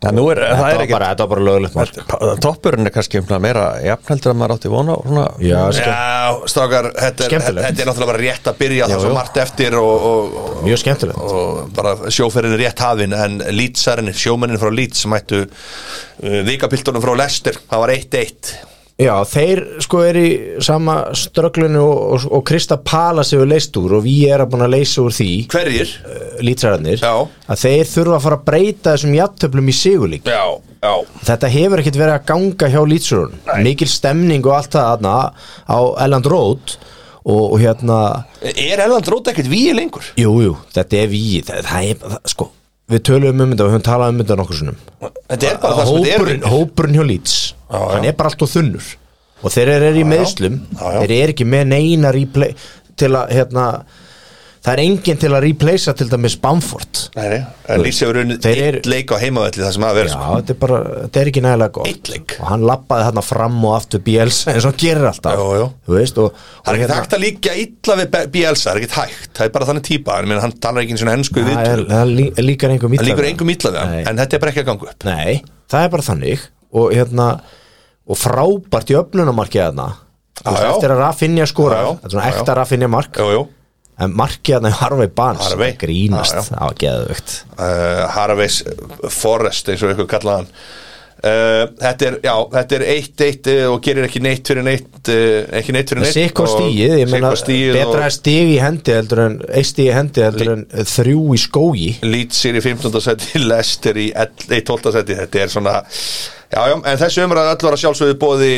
Speaker 2: það, nú er, það
Speaker 3: þetta
Speaker 2: er
Speaker 3: var
Speaker 2: ekki
Speaker 3: bara, þetta var bara lögulegt mark
Speaker 2: Toppurinn er kannski svona meira jafnheldur að maður átti vona svona,
Speaker 3: já,
Speaker 1: það
Speaker 3: sko. skemmt,
Speaker 1: já, strákar, þetta er,
Speaker 3: Skemmtilegt.
Speaker 1: þetta er náttúrulega bara rétt að byrja það er svo
Speaker 3: jú.
Speaker 1: margt eftir og, og,
Speaker 3: mjög skemmtilegt
Speaker 1: og bara sjóferðin er rétt hafin en lýtsarinn, sjómennin frá lýts sem hættu uh, vikapiltunum frá Lester það var 1-1
Speaker 3: já, þeir sko er í sama strögglinu og, og, og Krista Pala sem við leist úr og við erum búin að leysa úr því
Speaker 1: hverjir?
Speaker 3: lýtsararnir
Speaker 1: Já.
Speaker 3: að þeir þurfa að fara að breyta þessum jafntöflum í sigurlík
Speaker 1: já, já
Speaker 3: þetta hefur ekkert verið að ganga hjá lýtsurun mikil stemning og allt það þarna á Elland Road og, og hérna,
Speaker 1: er Erland Róta ekkert víi lengur?
Speaker 3: jú, jú, þetta er við það, það er, það, sko, við töluðum um þetta og við höfum talað um þetta nokkur sinnum
Speaker 1: þetta er bara það sem þetta er
Speaker 3: hópurinn,
Speaker 1: vinur.
Speaker 3: hópurinn hjá lýts
Speaker 1: Já, já.
Speaker 3: hann er bara allt og þunnur og þeir eru í meðslum
Speaker 1: Já, já.
Speaker 3: þeir eru ekki með neina replay til að, hérna það er enginn til að replacea til dæmis Bamford
Speaker 1: Nei, nei, en Lýs hefur unnið
Speaker 3: Þeir eru-
Speaker 1: eitt leik á heimavelli það sem að vera
Speaker 3: Já,
Speaker 1: sko.
Speaker 3: þetta er bara, þetta er ekki nægilega
Speaker 1: Einn
Speaker 3: gott
Speaker 1: leik.
Speaker 3: og hann lappaði þarna fram og aftur Bielsa eins og hann gerir alltaf
Speaker 1: Jú, jú.
Speaker 3: Þú veist, og, og
Speaker 1: Það er ekkert
Speaker 3: hérna-
Speaker 1: hægt að líka illa við Be- Bielsa, það er ekkert hægt Það er bara þannig típa, en ég meina, hann talar ekki einu svona ennsku í
Speaker 3: Það er-
Speaker 1: viðtölum.
Speaker 3: það lí- líkar engum
Speaker 1: Hann
Speaker 3: illa
Speaker 1: líkur
Speaker 3: við
Speaker 1: engum illa við hann,
Speaker 3: Nei.
Speaker 1: en þetta er bara ekki að ganga upp
Speaker 3: Nei, það er bara þannig og hérna og frábært í öfnunamarkið þarna Þú
Speaker 1: Já,
Speaker 3: veist,
Speaker 1: já.
Speaker 3: eftir að Rafinha skora
Speaker 1: Já, já.
Speaker 3: þetta er svona
Speaker 1: Já, já.
Speaker 3: ekta Rafinha mark
Speaker 1: Jú, jú,
Speaker 3: en markið þarna í Harvey Barnes
Speaker 1: Harvey.
Speaker 3: það grínast,
Speaker 1: Já, já.
Speaker 3: það var geðvögt
Speaker 1: uh, Harveys uh, Forrest eins og ykkur kallaði hann uh, Þetta er, já, þetta er eitt eitt uh, og gerir ekki neitt fyrir neitt uh, ekki neitt fyrir neitt
Speaker 3: Sikko
Speaker 1: og-
Speaker 3: stíið, ég meina
Speaker 1: Sikko stíið
Speaker 3: betra
Speaker 1: og
Speaker 3: er stíð í hendi heldur en eitt stíð í hendi heldur en þrjú í skógi
Speaker 1: Leeds er í 15. seti, Leicester í 11 í 12. seti, þetta er svona já, já, en þessu umræðu öll var að sjálfsögðu bóði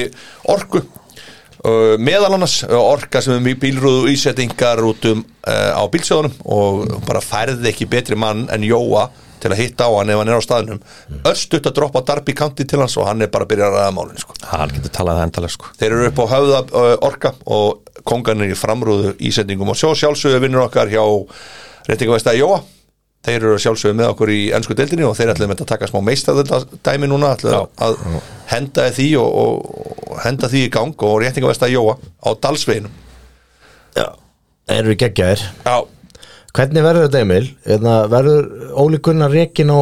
Speaker 1: orku uh, meðal annars uh, orka sem er mjög bílrúðu ísettingar út um uh, á bílsjóðunum og bara færði ekki betri mann en Jóa til að hitta á hann ef hann er á staðnum örstutt að droppa Darby County til hans og hann er bara að byrja að ræða málin sko.
Speaker 2: Hann getur talað það endalega sko
Speaker 1: þeir eru upp á höfða ö, orka og kongan er í framrúðu ísendingum og sjó sjálfsögðu vinnur okkar hjá reytingavesta Jóa þeir eru sjálfsögðu með okkur í ennsku deildinni og þeir ætlum að taka smá meistadæmi núna ætlum að henda því og, og, og henda því í gang og reytingavesta Jóa á Dalsveginum
Speaker 3: Já, erum við geggjaðir
Speaker 1: Já,
Speaker 3: Hvernig verður þetta Emil? Hérna, verður Óli Gunnar reikin á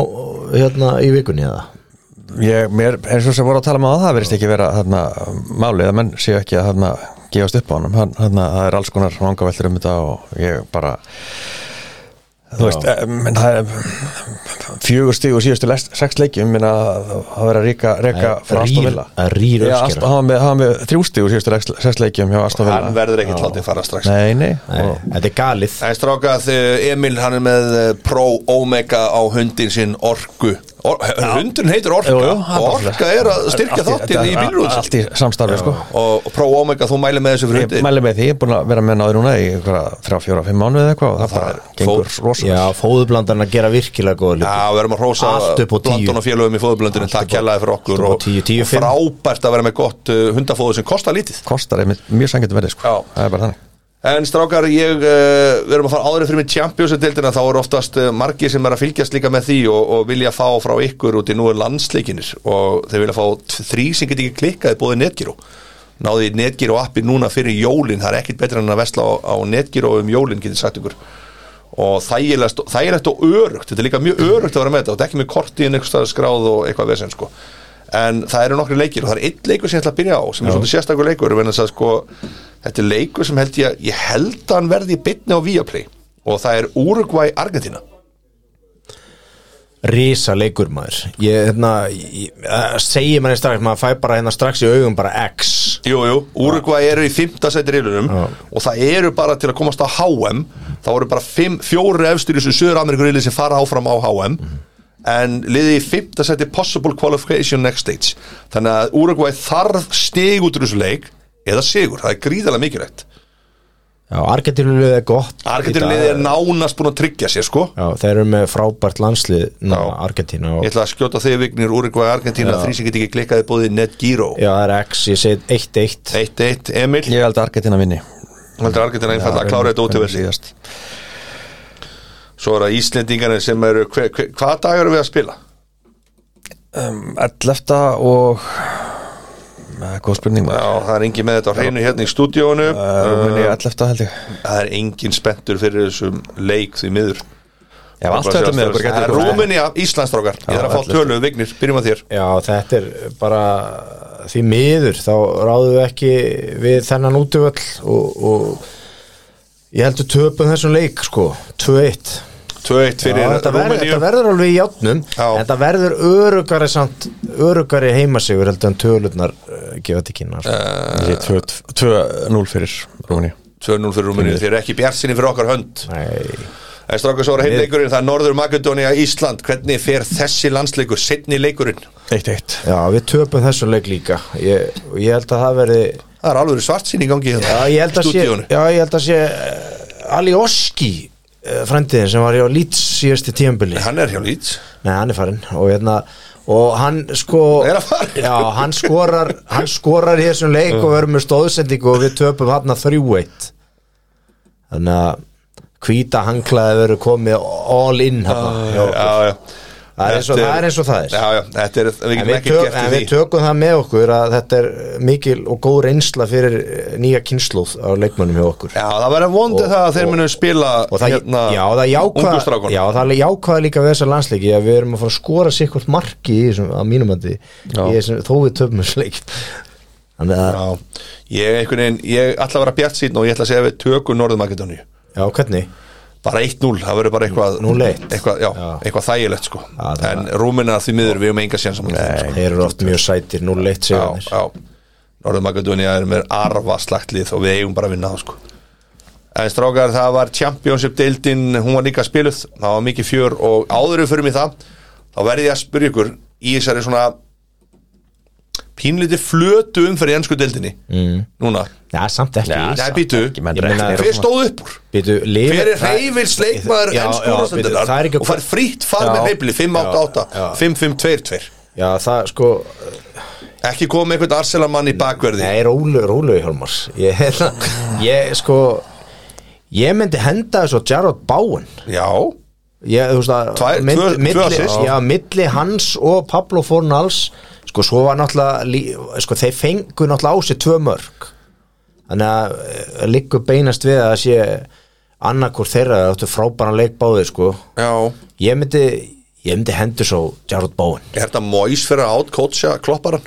Speaker 3: hérna í vikunni eða?
Speaker 2: Ég, mér, eins og sem voru að tala með á það verðist ekki vera þarna, málið að menn séu ekki að þarna, gefast upp á honum hann, þarna, það er alls konar vangaveltur um þetta og ég bara þú veist, eh, menn það er fjögur stíg og síðustu lest, sex leikjum minna að vera ríka, reka
Speaker 3: Að
Speaker 2: frá
Speaker 3: rýr-
Speaker 2: Aston Villa
Speaker 3: að rýr
Speaker 2: Já,
Speaker 3: uppskera.
Speaker 2: Aston- hann var með, hann var með þrjú stíg og síðustu lex- sex leikjum hjá Aston Villa
Speaker 1: hann verður ekkert látið fara strax
Speaker 2: nei, nei,
Speaker 3: Nei,
Speaker 2: og
Speaker 3: þetta er galið
Speaker 1: Það er strákað eh, Emil, hann er með eh, Pro Omega á hundin sinn Orku Or, Hundin heitir Orka
Speaker 2: Jú, jú,
Speaker 1: og
Speaker 2: það er bara
Speaker 1: Orka er að styrkja
Speaker 2: allt í-
Speaker 1: þáttinn í
Speaker 2: þetta-
Speaker 1: bílrúðs
Speaker 2: allt í samstarfi sko
Speaker 1: og Pro Omega, þú mælir með þessu fyrir
Speaker 2: Ég
Speaker 1: hundin
Speaker 2: mæli með því, ég er búin að vera með náður núna í einhverja þrjá, fjóra, fimm mánuði eða eitthvað og það,
Speaker 1: er
Speaker 2: bara gengur
Speaker 1: fór-
Speaker 2: rosalega
Speaker 3: Já, fóðublandarinn að gera virkilega góða
Speaker 1: Já,
Speaker 3: hluti
Speaker 1: við erum að hrósa
Speaker 3: Allt upp á tíu.
Speaker 1: London og félögum í fóðublöndinu,
Speaker 3: Allt upp
Speaker 1: takk
Speaker 3: á-
Speaker 1: kjallaði fyrir okkur
Speaker 3: allt upp á
Speaker 1: og,
Speaker 3: tíu, tíu,
Speaker 1: og
Speaker 3: fimm.
Speaker 1: frábært að vera með gott uh, hundafóðu sem kostar lítið
Speaker 2: kostar einmitt mjög sangjöndum verið sko
Speaker 1: Já.
Speaker 2: það er bara þannig
Speaker 1: En strákar, ég, uh, við erum að fara áður fyrir með Champions-deildina, þá eru oftast uh, margir sem er að fylgjast líka með því og, og vilja fá frá ykkur út í nú er landsleikinir og þeir vilja fá t- þrí sem get ekki klikkað í bóði Netgyro. Náði Netgyro appi núna fyrir jólin, það er ekkit betra en að vesla á, á Netgyro um jólin, getur sagt ykkur. Og þægilegt, þægilegt og örugt, þetta er líka mjög örugt að vera með þetta og þetta er ekki með korti en eitthvað skráð og eitthvað vesend sko. En það eru nokkri leikir og það er einn leikur sem ég ætla að byrja á sem er svona sérstakur leikur vegna þess að sko, þetta er leikur sem held ég að ég held að hann verði í bytni á Viaplay og það er Uruguay Argentina
Speaker 3: Rísa leikur maður Ég, hérna, ég, eh, segi manni strax maður fæ bara hérna strax í augum bara X
Speaker 1: Jú, jú, Uruguay eru í fymta sæti reilunum
Speaker 3: Já.
Speaker 1: og það eru bara til að komast á HM þá eru bara fimm, fjóri efstur í þessu söður Ameríkur reilin sem fara áfram á HM en liði í fymta sæti Possible Qualification Next Stage þannig að Uruguay þarf stig út úr þessu leik eða sigur, það er gríðarlega mikilvægt
Speaker 3: Já, Argentínulegið er gott
Speaker 1: Argentinliði er nánast búin að tryggja sér sko
Speaker 3: Já, þeir eru með frábært landslið ná,
Speaker 1: Já.
Speaker 3: Argentínu
Speaker 1: Ég
Speaker 3: og,
Speaker 1: ætla að skjóta þig Vignir Úrugvæði Argentína þrý sem get ekki klikkaði búið NetGyro
Speaker 3: Já, það er X, ég segi 1-1
Speaker 1: 1-1 Emil,
Speaker 2: ég held að Argentina vinni
Speaker 1: heldur Argentína einfalda að klára þetta út í versi
Speaker 2: síðast
Speaker 1: Svo er það Íslendingarnir sem eru hver, hver, Hvaða dag eru við að spila?
Speaker 2: 11 og eh, góð spurning
Speaker 1: Já,
Speaker 2: maður
Speaker 1: það er engin með þetta á hreinu hérna í stúdíónu
Speaker 2: Rúmeni
Speaker 1: Eh.
Speaker 2: 11 held ég
Speaker 1: Það er engin spenntur fyrir þessum leik því miður
Speaker 2: Já, allt þetta með okkur
Speaker 1: Það
Speaker 2: getur
Speaker 1: er Rúmenía, Íslandsdrókar Ég þarf að fá tölu, Vignir, byrjum að þér
Speaker 3: Já, þetta er bara því miður, þá ráðum við ekki við þennan útvöll og, og ég heldur töpum þessum leik sko, 2-1
Speaker 1: 2-1
Speaker 3: Já,
Speaker 1: fyrir
Speaker 3: þetta, verður,
Speaker 1: Rúmeníu
Speaker 3: þetta verður alveg í játnum
Speaker 1: Já.
Speaker 3: en þetta verður örugari samt, örugari heimasigur heldur en tölurnar uh, gefa til kynna
Speaker 1: Eh.
Speaker 3: sko.
Speaker 2: Ég sé 2-0 fyrir Rúmeni
Speaker 1: 2-0 fyrir Rúmeníu, þeir eru ekki bjartsinni fyrir okkar hönd
Speaker 3: Nei,
Speaker 1: En strákur svo er heimleikurinn, það er Norður Makedónia Ísland, hvernig fer þessi landsleikur setni leikurinn?
Speaker 2: 1-1
Speaker 3: já, við töpum þessum leik líka ég, og ég held að það verði
Speaker 1: Það er alveg svartsýn í gangi
Speaker 3: já,
Speaker 1: hérna
Speaker 3: ég held að sé,
Speaker 1: Stúdíónu.
Speaker 3: já, ég held að sé uh, Ali Oski uh, frændiðin sem var í á Leeds síðasti tíambili
Speaker 1: Hann er hjá Leeds
Speaker 3: Nei, hann er farinn og hérna og hann sko
Speaker 1: Er hann farinn?
Speaker 3: já, hann skorar, hann skorar í þessum leik og verður með stóðsendingu og við töpum hann að 3-1 þannig að hvíta hanglaði verður komið all in hann
Speaker 1: Já, já
Speaker 3: Það er eins og-
Speaker 1: Þetta
Speaker 3: það er eins og það er.
Speaker 1: Já, já, þetta er, við
Speaker 3: En
Speaker 1: getum
Speaker 3: við,
Speaker 1: ekki
Speaker 3: tök,
Speaker 1: gert
Speaker 3: en
Speaker 1: í
Speaker 3: við
Speaker 1: því
Speaker 3: tökum það með okkur að þetta er mikil og góð reynsla fyrir eh, nýja kynnslóð á leikmönnum hjá okkur
Speaker 1: Já, það verður vondið
Speaker 3: Og-
Speaker 1: það að þeir
Speaker 3: og-
Speaker 1: munum spila hérna,
Speaker 3: og það, Hérna, já, það
Speaker 1: ungu
Speaker 3: jákvað
Speaker 1: strákunum.
Speaker 3: já, það er jákvað líka við þessar landsleiki að við erum að fara að skora sér hvort marki í þessum, að mínum andi, í þessum, þó við töfum þessu leik þannig að,
Speaker 1: já, ég einhvern veginn, ég ætla að vera bjart síðan og ég ætla að segja að við tökum Norður Makedóníu
Speaker 3: já, hvernig
Speaker 1: bara 1-0, það verður bara eitthvað
Speaker 3: 0-1.
Speaker 1: eitthvað, já,
Speaker 3: Já.
Speaker 1: eitthvað þægilegt sko
Speaker 3: Já, það-
Speaker 1: en Rúmenar því miður, við erum enga sér saman sko.
Speaker 3: þeir eru oft mjög sætir, 0-1
Speaker 1: já,
Speaker 3: segjanir
Speaker 1: já. Norður Magadónia er með arfa slagtlið og við eigum bara að vinna það sko. en strákar það var Championship deildin hún var líka spiluð, það var mikið fjör og áður við fyrir mig það, þá verði ég að spyrja ykkur í þessari svona pínlítið flötu umferð í ennsku deildinni mm. núna,
Speaker 3: Já, samt ekki
Speaker 2: Já,
Speaker 1: það
Speaker 2: samt
Speaker 1: er býtu
Speaker 2: ekki, menn
Speaker 3: Ég meina-
Speaker 2: reknir og
Speaker 1: hver
Speaker 2: svona.
Speaker 1: stóð upp úr
Speaker 3: Býtu, lifi,
Speaker 1: Hver er reyfils leikmaður
Speaker 3: Já,
Speaker 1: ennsku
Speaker 3: já,
Speaker 1: úrvarsdeildar
Speaker 3: býtu, það er ekki-
Speaker 1: og fær frítt far
Speaker 3: Já,
Speaker 1: með reyfli 5-8-8, 5-5-2-2
Speaker 3: Já, það sko
Speaker 1: ekki koma með einhvern Arsenal-mann í bakverði
Speaker 3: Nei, rólu, rólu Hjálmar Ég, ég sko Ég myndi henda þessu á Jarrod Bowen
Speaker 1: já,
Speaker 3: ég, þú veist að
Speaker 1: Tvær- tvö- tvö
Speaker 3: milli,
Speaker 1: assist.
Speaker 3: já, milli hans og Pablo Fornals sko, svo var náttúrulega lí- sko, þeir fengu náttúrulega á sig tvö mörg þannig að eh, liggur beinast við að það sé annarkur þeirra það áttu frábæran leik báði sko.
Speaker 1: já
Speaker 3: ég myndi ég myndi hendur svo Jarrod Bowen
Speaker 1: er þetta Mois fyrir að átkótsja klopparan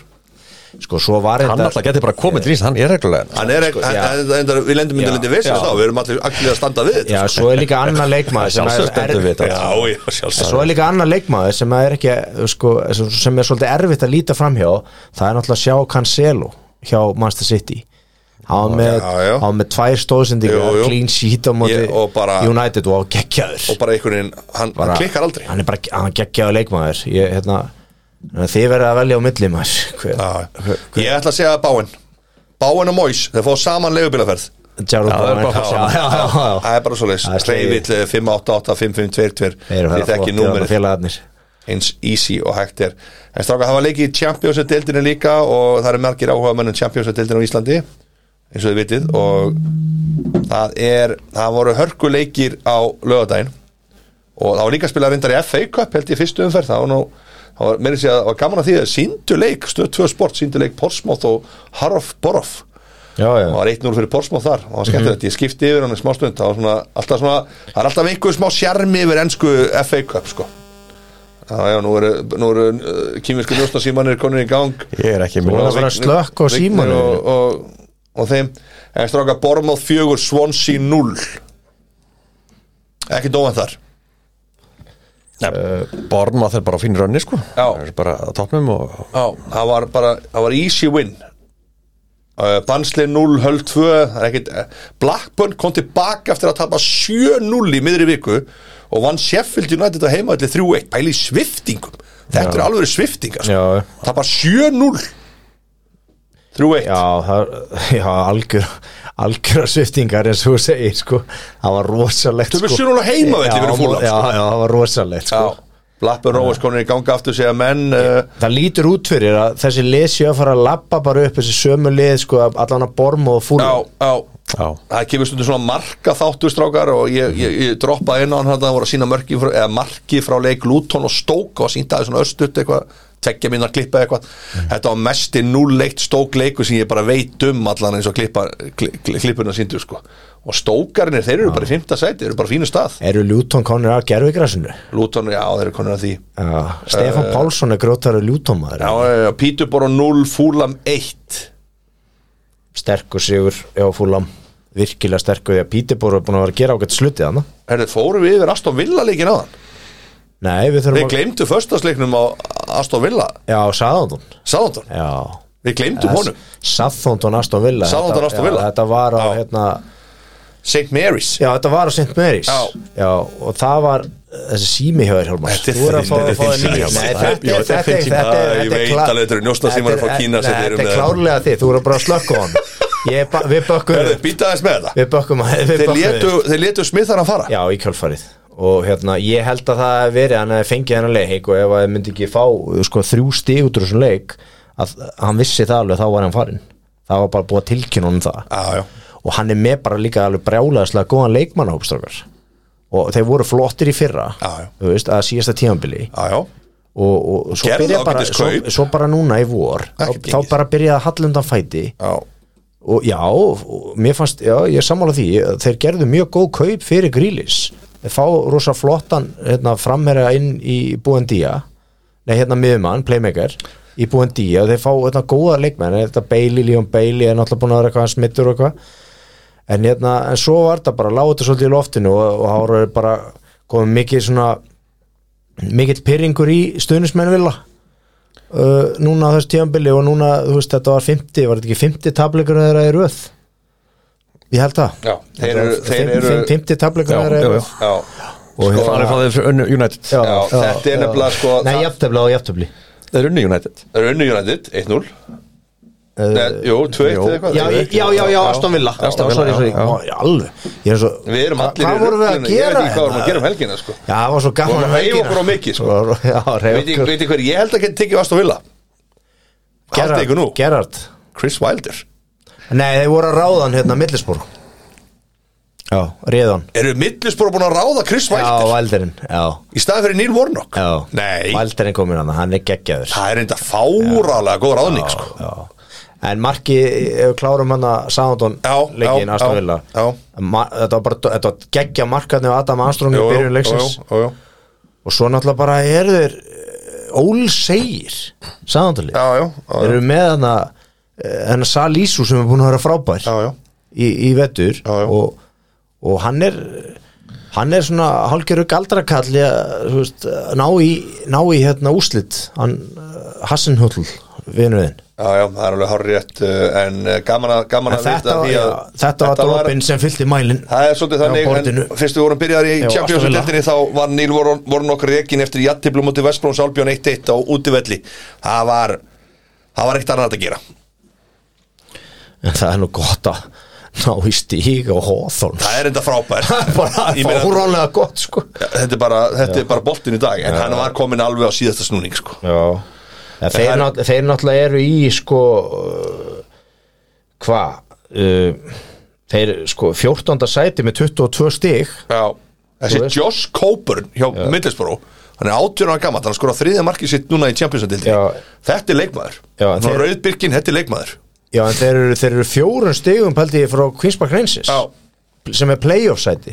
Speaker 3: sko, svo var
Speaker 2: Hann alltaf getur bara komið til ís, hann er reglulega
Speaker 1: hann er ekki,
Speaker 3: Sko,
Speaker 1: sko,
Speaker 3: já.
Speaker 1: við lendum myndi
Speaker 3: Já,
Speaker 1: lindi vissins
Speaker 3: já.
Speaker 1: þá, við erum allir allir að standa við
Speaker 3: já,
Speaker 1: þetta
Speaker 3: svo er líka annar leikmaður sem
Speaker 2: Sjálfsagt
Speaker 3: er,
Speaker 2: stendur við
Speaker 3: er,
Speaker 2: þetta.
Speaker 1: já, já,
Speaker 3: En svo
Speaker 1: sjálfsagt
Speaker 3: er líka annar leikmaður sem er ekki sko, sem sem er svolítið erfitt að líta framhjá það er náttúrulega að sjá Cancelo hjá Manchester City hann var með,
Speaker 1: Já, já.
Speaker 3: hann var með tvær stóðsendingar
Speaker 1: Jú, jú.
Speaker 3: clean sheet á móti
Speaker 1: Ég- og bara-
Speaker 3: United og geggjaður
Speaker 1: og bara einhvern veginn, hann,
Speaker 3: Bara-
Speaker 1: hann klikkar aldrei
Speaker 3: hann er bara hann er geggjaður leikmaður ég, hérna, þið verða að velja á milli maður Hver-
Speaker 1: Já, ég ætla að segja Báin Báin og Mois, þeir fá saman leigubilaferð
Speaker 3: Gerald
Speaker 2: það er
Speaker 3: Bowen.
Speaker 2: bara að fá
Speaker 3: Já, já, já, já.
Speaker 1: það er bara eh, svo leis,
Speaker 3: Það er slegið.
Speaker 1: hreyfill 588-5522
Speaker 3: Þeir eru
Speaker 1: þið
Speaker 3: að fara
Speaker 1: þekki
Speaker 3: flott í þarna
Speaker 1: númerið
Speaker 3: félagarnir
Speaker 1: eins easy og hægt er en stráka, það var leikið í Champions deildinu líka og það eru margir áhuga mönnum Champions deildinu á Íslandi eins og þið vitið og það er, það voru hörkuleikir á lögadaginn og það var líka að spila reyndar í FA Cup held ég fyrstu umferð, það var nú það var, meira að segja, það var gaman að því að síndu leik stöð 2 sport, síndu leik Portsmouth og Harof Borof
Speaker 3: já, já.
Speaker 1: það var 1-0 fyrir Portsmouth þar og það var skemmtilegt,
Speaker 3: Mhm.
Speaker 1: ég skipti yfir hann í smá stund það var svona, alltaf svona, það er alltaf einhver smá sjarmi yfir ennsku FA Cup sko Já, já, nú eru, nú eru uh, kýminsku njósnarsímanir konur í gang
Speaker 2: Ég er ekki
Speaker 3: voru
Speaker 2: mjög
Speaker 3: að fara að
Speaker 1: Vignir-
Speaker 3: slökkva á
Speaker 1: Vignir
Speaker 3: símanum.
Speaker 1: og, og, og þeim, en stráka Bormóð 4, Swansea 0 ekki dóan þar
Speaker 2: Born var þeir bara á fínir önni sko
Speaker 1: Já.
Speaker 2: Þeir eru bara á toppnum og
Speaker 1: Já, það var bara, það var easy win uh, Bansli 0, Höll 2 það er ekkit, eh, Blackburn kom tilbaka eftir að tapa 7-0 í miðri viku og vann Sheffield United á heimaðli 3-1, pæli í sviftingum þetta eru alveg sviftingar sko.
Speaker 3: Já.
Speaker 1: tapa 7-0 3-1
Speaker 3: Já, það, já algjör algjör sviftingar eins og þú segir sko. það var rosalegt
Speaker 1: Töpu 7-0 á heimavelli
Speaker 3: Já,
Speaker 1: fyrir Fulham, sko.
Speaker 3: Já, já, það var rosalegt sko.
Speaker 1: Já, Blackburn Rovers konur í ganga aftur segja menn uh,
Speaker 3: Það lítur út fyrir að þessi lið séu að fara að labba bara upp þessi sömu lið sko, af allan að borma og fúlu
Speaker 1: já, já,
Speaker 2: Já,
Speaker 1: það kemur stundum svona marka þáttur strákar og ég, ég, ég droppaði inn á hann þarna, það voru að sína mörki frá, eða marki frá leik Luton og Stoke og síndaði svona östut eitthvað tveggja mínar klippa eitthvað þetta var mesti núleikt Stoke leiku sem ég bara veit um allan eins og klippa, kli, kli- klippuna síndu sko og Stokearinnir þeir eru bara í fymta sæti, þeir eru bara á fínu stað
Speaker 3: Eru Ljúton konir að gerfigrasinu?
Speaker 1: Luton, já þeir eru konur að því
Speaker 3: Já, Stefán Pálsson er grótari Ljúton maður
Speaker 1: Eh. já, já, já, Píturbor og 0, Fúlam 1
Speaker 3: Sterkur sigur, já fúlam virkilega sterkur því að Pítibor er búin að vera að gera ágætt slutið hana
Speaker 1: Herðu, fórum við yfir Aston Villa leikin á þann
Speaker 3: Nei, við
Speaker 1: Við
Speaker 3: þurfum að
Speaker 1: gleymdu föstasleiknum á Aston Villa
Speaker 3: Já, Sáðandun
Speaker 1: Sáðan,
Speaker 3: Já,
Speaker 1: við gleymdum honum
Speaker 3: Southampton Aston Villa
Speaker 1: Southampton, Aston
Speaker 3: já,
Speaker 1: Villa.
Speaker 3: þetta var á
Speaker 1: Já.
Speaker 3: hérna,
Speaker 1: St. Mary's
Speaker 3: já þetta var á St. Mary's
Speaker 1: Já.
Speaker 3: og það var eh, þessi sími hjá þér Hjálmar
Speaker 1: Þetta er
Speaker 3: þú er að fá að
Speaker 1: þinn-
Speaker 3: fá
Speaker 1: þinn
Speaker 3: að
Speaker 1: sími,
Speaker 3: nýja
Speaker 1: Hjálmar.
Speaker 3: Nei,
Speaker 1: Já,
Speaker 3: þetta er-
Speaker 1: þetta er
Speaker 3: þetta
Speaker 1: þinn
Speaker 3: er-
Speaker 1: sími.
Speaker 3: þetta
Speaker 1: Æ,
Speaker 3: er-
Speaker 1: ég
Speaker 3: þetta er
Speaker 1: veit
Speaker 3: klá-
Speaker 1: alveg, þetta eru njósnasímar frá
Speaker 3: Þetta er-
Speaker 1: Kína sem
Speaker 3: nei,
Speaker 1: þeir eru
Speaker 3: þetta
Speaker 1: með.
Speaker 3: er klárlega þið, þú eru bara að slökka á hann Ég ba- við bökkum
Speaker 1: Herðu, býtaðis með þetta
Speaker 3: við bökkum við
Speaker 1: Þeir
Speaker 3: bökkum
Speaker 1: létu,
Speaker 3: við.
Speaker 1: þeir létu smittar að fara
Speaker 3: já í kjálfarið og hérna ég held að það hef verið hann hefði fengið hennar leik og ef að þið myndi ekki fá sko, þrjú stig út úr þessum leik að hann vissi það alveg þá var hann farinn það var bara búið að tilkynna honum það
Speaker 1: Já, já,
Speaker 3: og hann er með bara líka alveg brjálaðislega góðan leikmannahópstrákar og þeir voru flottir í fyrra
Speaker 1: Já, já.
Speaker 3: þú veist, að síðasta tímanbili og,
Speaker 1: já, já
Speaker 3: og, og svo,
Speaker 1: Gerðu
Speaker 3: byrja bara,
Speaker 1: ágætis
Speaker 3: svo,
Speaker 1: kaup.
Speaker 3: svo bara núna í vor þá,
Speaker 1: Ekkert
Speaker 3: þá
Speaker 1: gengið.
Speaker 3: bara byrjaði að halla undan fæti
Speaker 1: Já,
Speaker 3: og já, og mér fannst já, ég er sammála því, þeir gerðu mjög góð kaup fyrir grílis, þeir fá rosa flottan hérna, framherja inn í Búendía, nei hérna miðumann, playmaker, í Búendía þeir fá hérna góða leikmenn, þetta Bailey, Leon Bailey er náttúrulega búin að vera eitthvað smittur og eitthvað en hérna, en svo var þetta bara lágu þetta svolítið í loftinu og, og það voru bara komið mikið svona mikill pyrringur í stuðnismenn vilja uh, núna á þessu tíðanbili og núna, þú veist, þetta var 50 var þetta ekki 50 tableikur þeirra í röð ég held það
Speaker 1: Já, þeir eru- þeir eru-
Speaker 3: 50 tableikur
Speaker 2: já,
Speaker 3: þeirra í
Speaker 2: já, já.
Speaker 3: röð
Speaker 1: já
Speaker 3: og hérna-
Speaker 2: Þannig fá þeir fyrir önnu United
Speaker 1: Já, þetta er nefnilega, sko,
Speaker 3: nei,
Speaker 1: það-
Speaker 3: jafntefli og jafntefli
Speaker 2: Það er unni United
Speaker 1: Það er unni United, 1-0 Nei, Jú, 2-1
Speaker 2: jú.
Speaker 1: eða eitthvað
Speaker 3: Eh, Já, já, já, já, Aston Villa
Speaker 2: Aston
Speaker 3: Já,
Speaker 2: Villa,
Speaker 3: sorry, sorry.
Speaker 2: já, já.
Speaker 3: Ó, já, alveg Ég er svo
Speaker 1: Við erum
Speaker 3: Hva-
Speaker 1: allir í
Speaker 3: Hvað vorum við að
Speaker 1: ruglinu,
Speaker 3: gera? hérna?
Speaker 1: Ég veit ekki hvað vorum að gera um helgina sko.
Speaker 3: Já, það var svo gaman um
Speaker 1: Vorum að hreyfa okkur á mikið, sko.
Speaker 3: Svo- Já, reyfa
Speaker 1: Veit
Speaker 3: okkur
Speaker 1: ekki hver, ég held að geta tekið Aston Villa Haldið ykkur nú
Speaker 3: Gerard
Speaker 1: Chris Wilder
Speaker 3: Nei, þeir voru að ráðan hérna Millispor Já, réðan
Speaker 1: Eru millispor búin að ráða Chris
Speaker 3: Já,
Speaker 1: Wilder
Speaker 3: Valderinn Já,
Speaker 1: Í staði fyrir Neil Warnock
Speaker 3: já
Speaker 1: Nei,
Speaker 3: Valderinn komin hann, hann er geggjaður
Speaker 1: það er enda fáralega góð ráðning sko.
Speaker 3: Já, já. En marki, ef við klárum hann að Sándon
Speaker 1: Já,
Speaker 3: leikin
Speaker 1: já,
Speaker 3: Aston
Speaker 1: já,
Speaker 3: Villa
Speaker 1: já.
Speaker 3: Ma, Þetta var bara þetta var geggja markarni og Adam Armstrong í
Speaker 1: Jú, jú,
Speaker 3: byrjun leiksins
Speaker 1: jú, jú, jú.
Speaker 3: og svo náttúrulega bara eru þeir eh, ólsegir Sándonli
Speaker 1: Já, já, já, já.
Speaker 3: eru með eh, hann að hann að Salísu sem er búin að vera frábær
Speaker 1: Já, já.
Speaker 3: Í, í vettur
Speaker 1: Já, já.
Speaker 3: Og, og hann er hann er svona hálfgerðu galdrakalli að þú veist, að ná í, ná í hérna úslit hann eh, Hassenhull vinuðin
Speaker 1: Já, já, það er alveg hár rétt En eh, gaman að, gaman
Speaker 3: En
Speaker 1: að vita
Speaker 3: þetta,
Speaker 1: því
Speaker 3: já,
Speaker 1: að
Speaker 3: þetta var dropin sem fyllti mælin
Speaker 1: Það er svolítið
Speaker 3: Já,
Speaker 1: þannig,
Speaker 3: borðinu.
Speaker 1: en fyrst við vorum byrjaðar í
Speaker 3: Já,
Speaker 1: Champions
Speaker 3: Aston Villa.
Speaker 1: League-dildinni þá var Níl Vorn, vorn okkur rekin eftir jattiflu mútið Vestbróns Albjörn 1-1 á útivelli Það var, það var eitt annað að gera
Speaker 3: en það er nú gott að ná í stíg og hóþón
Speaker 1: Það er enda frábær
Speaker 3: bara
Speaker 1: Ég meina-
Speaker 3: fáránlega gott sko
Speaker 1: Þetta er bara, þetta er bara boltin í dag en hann var komin alveg á síðasta snúning sko.
Speaker 3: Já ja, þeir,
Speaker 1: það-
Speaker 3: nátt, þeir náttúrulega eru í sko uh, hva uh, þeir sko 14. sæti með 22 stig
Speaker 1: Já Þessi
Speaker 3: Þú veist.
Speaker 1: Josh Coburn hjá Middlesbrough hann er átjörn ára gammal, hann skora þriðja markið sitt núna í Champions League-dildinni
Speaker 3: Já.
Speaker 1: Þetta er leikmaður
Speaker 3: Já, en
Speaker 1: Frá
Speaker 3: þeir-
Speaker 1: Rauðbyrkin, þetta er leikmaður
Speaker 3: já en þeir eru, þeir eru fjórun stigum pældi ég frá Queens Park Rangers
Speaker 1: Já.
Speaker 3: sem er playoff sæti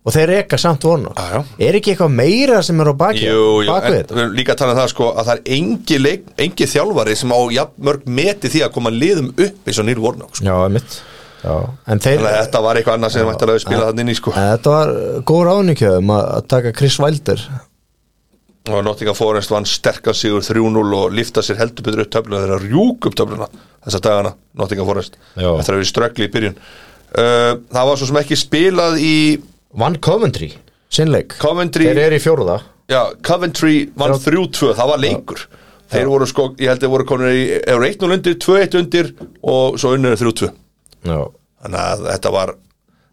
Speaker 3: og þeir reka samt vonu
Speaker 1: Já, já.
Speaker 3: er ekki eitthvað meira sem er á baki
Speaker 1: Jú, jú,
Speaker 3: baku
Speaker 1: en
Speaker 3: þetta
Speaker 1: við erum líka að tala um það sko að það er engi, leik, engi þjálfari sem á jafnmörg meti því að koma liðum upp eins og Neil Warnock sko.
Speaker 3: já, einmitt já. en þeir
Speaker 1: Þannig að þetta var eitthvað annað sem mættilega spila þannig inn í sko
Speaker 3: en þetta var góð ráðningjöfum að að taka Chris Wilder
Speaker 1: og Nottingham Forest vann sterkan sigur 3-0 og lifta sér heldur betur upp töfluna þeirra rjúk upp töfluna þessa dagana Nottingham Forest
Speaker 3: Já.
Speaker 1: eftir að við ströggli í byrjun uh, Það var svo sem ekki spilað í
Speaker 3: vann Coventry, sinnleik
Speaker 1: Coventry
Speaker 3: þeir eru í fjórða
Speaker 1: Já, Coventry vann
Speaker 3: Já.
Speaker 1: 3-2, það var leikur Þeir voru sko, ég held að voru konur í eða voru 1-0 undir, 2-1 undir og svo unnur 3-2
Speaker 3: Já.
Speaker 1: þannig að þetta var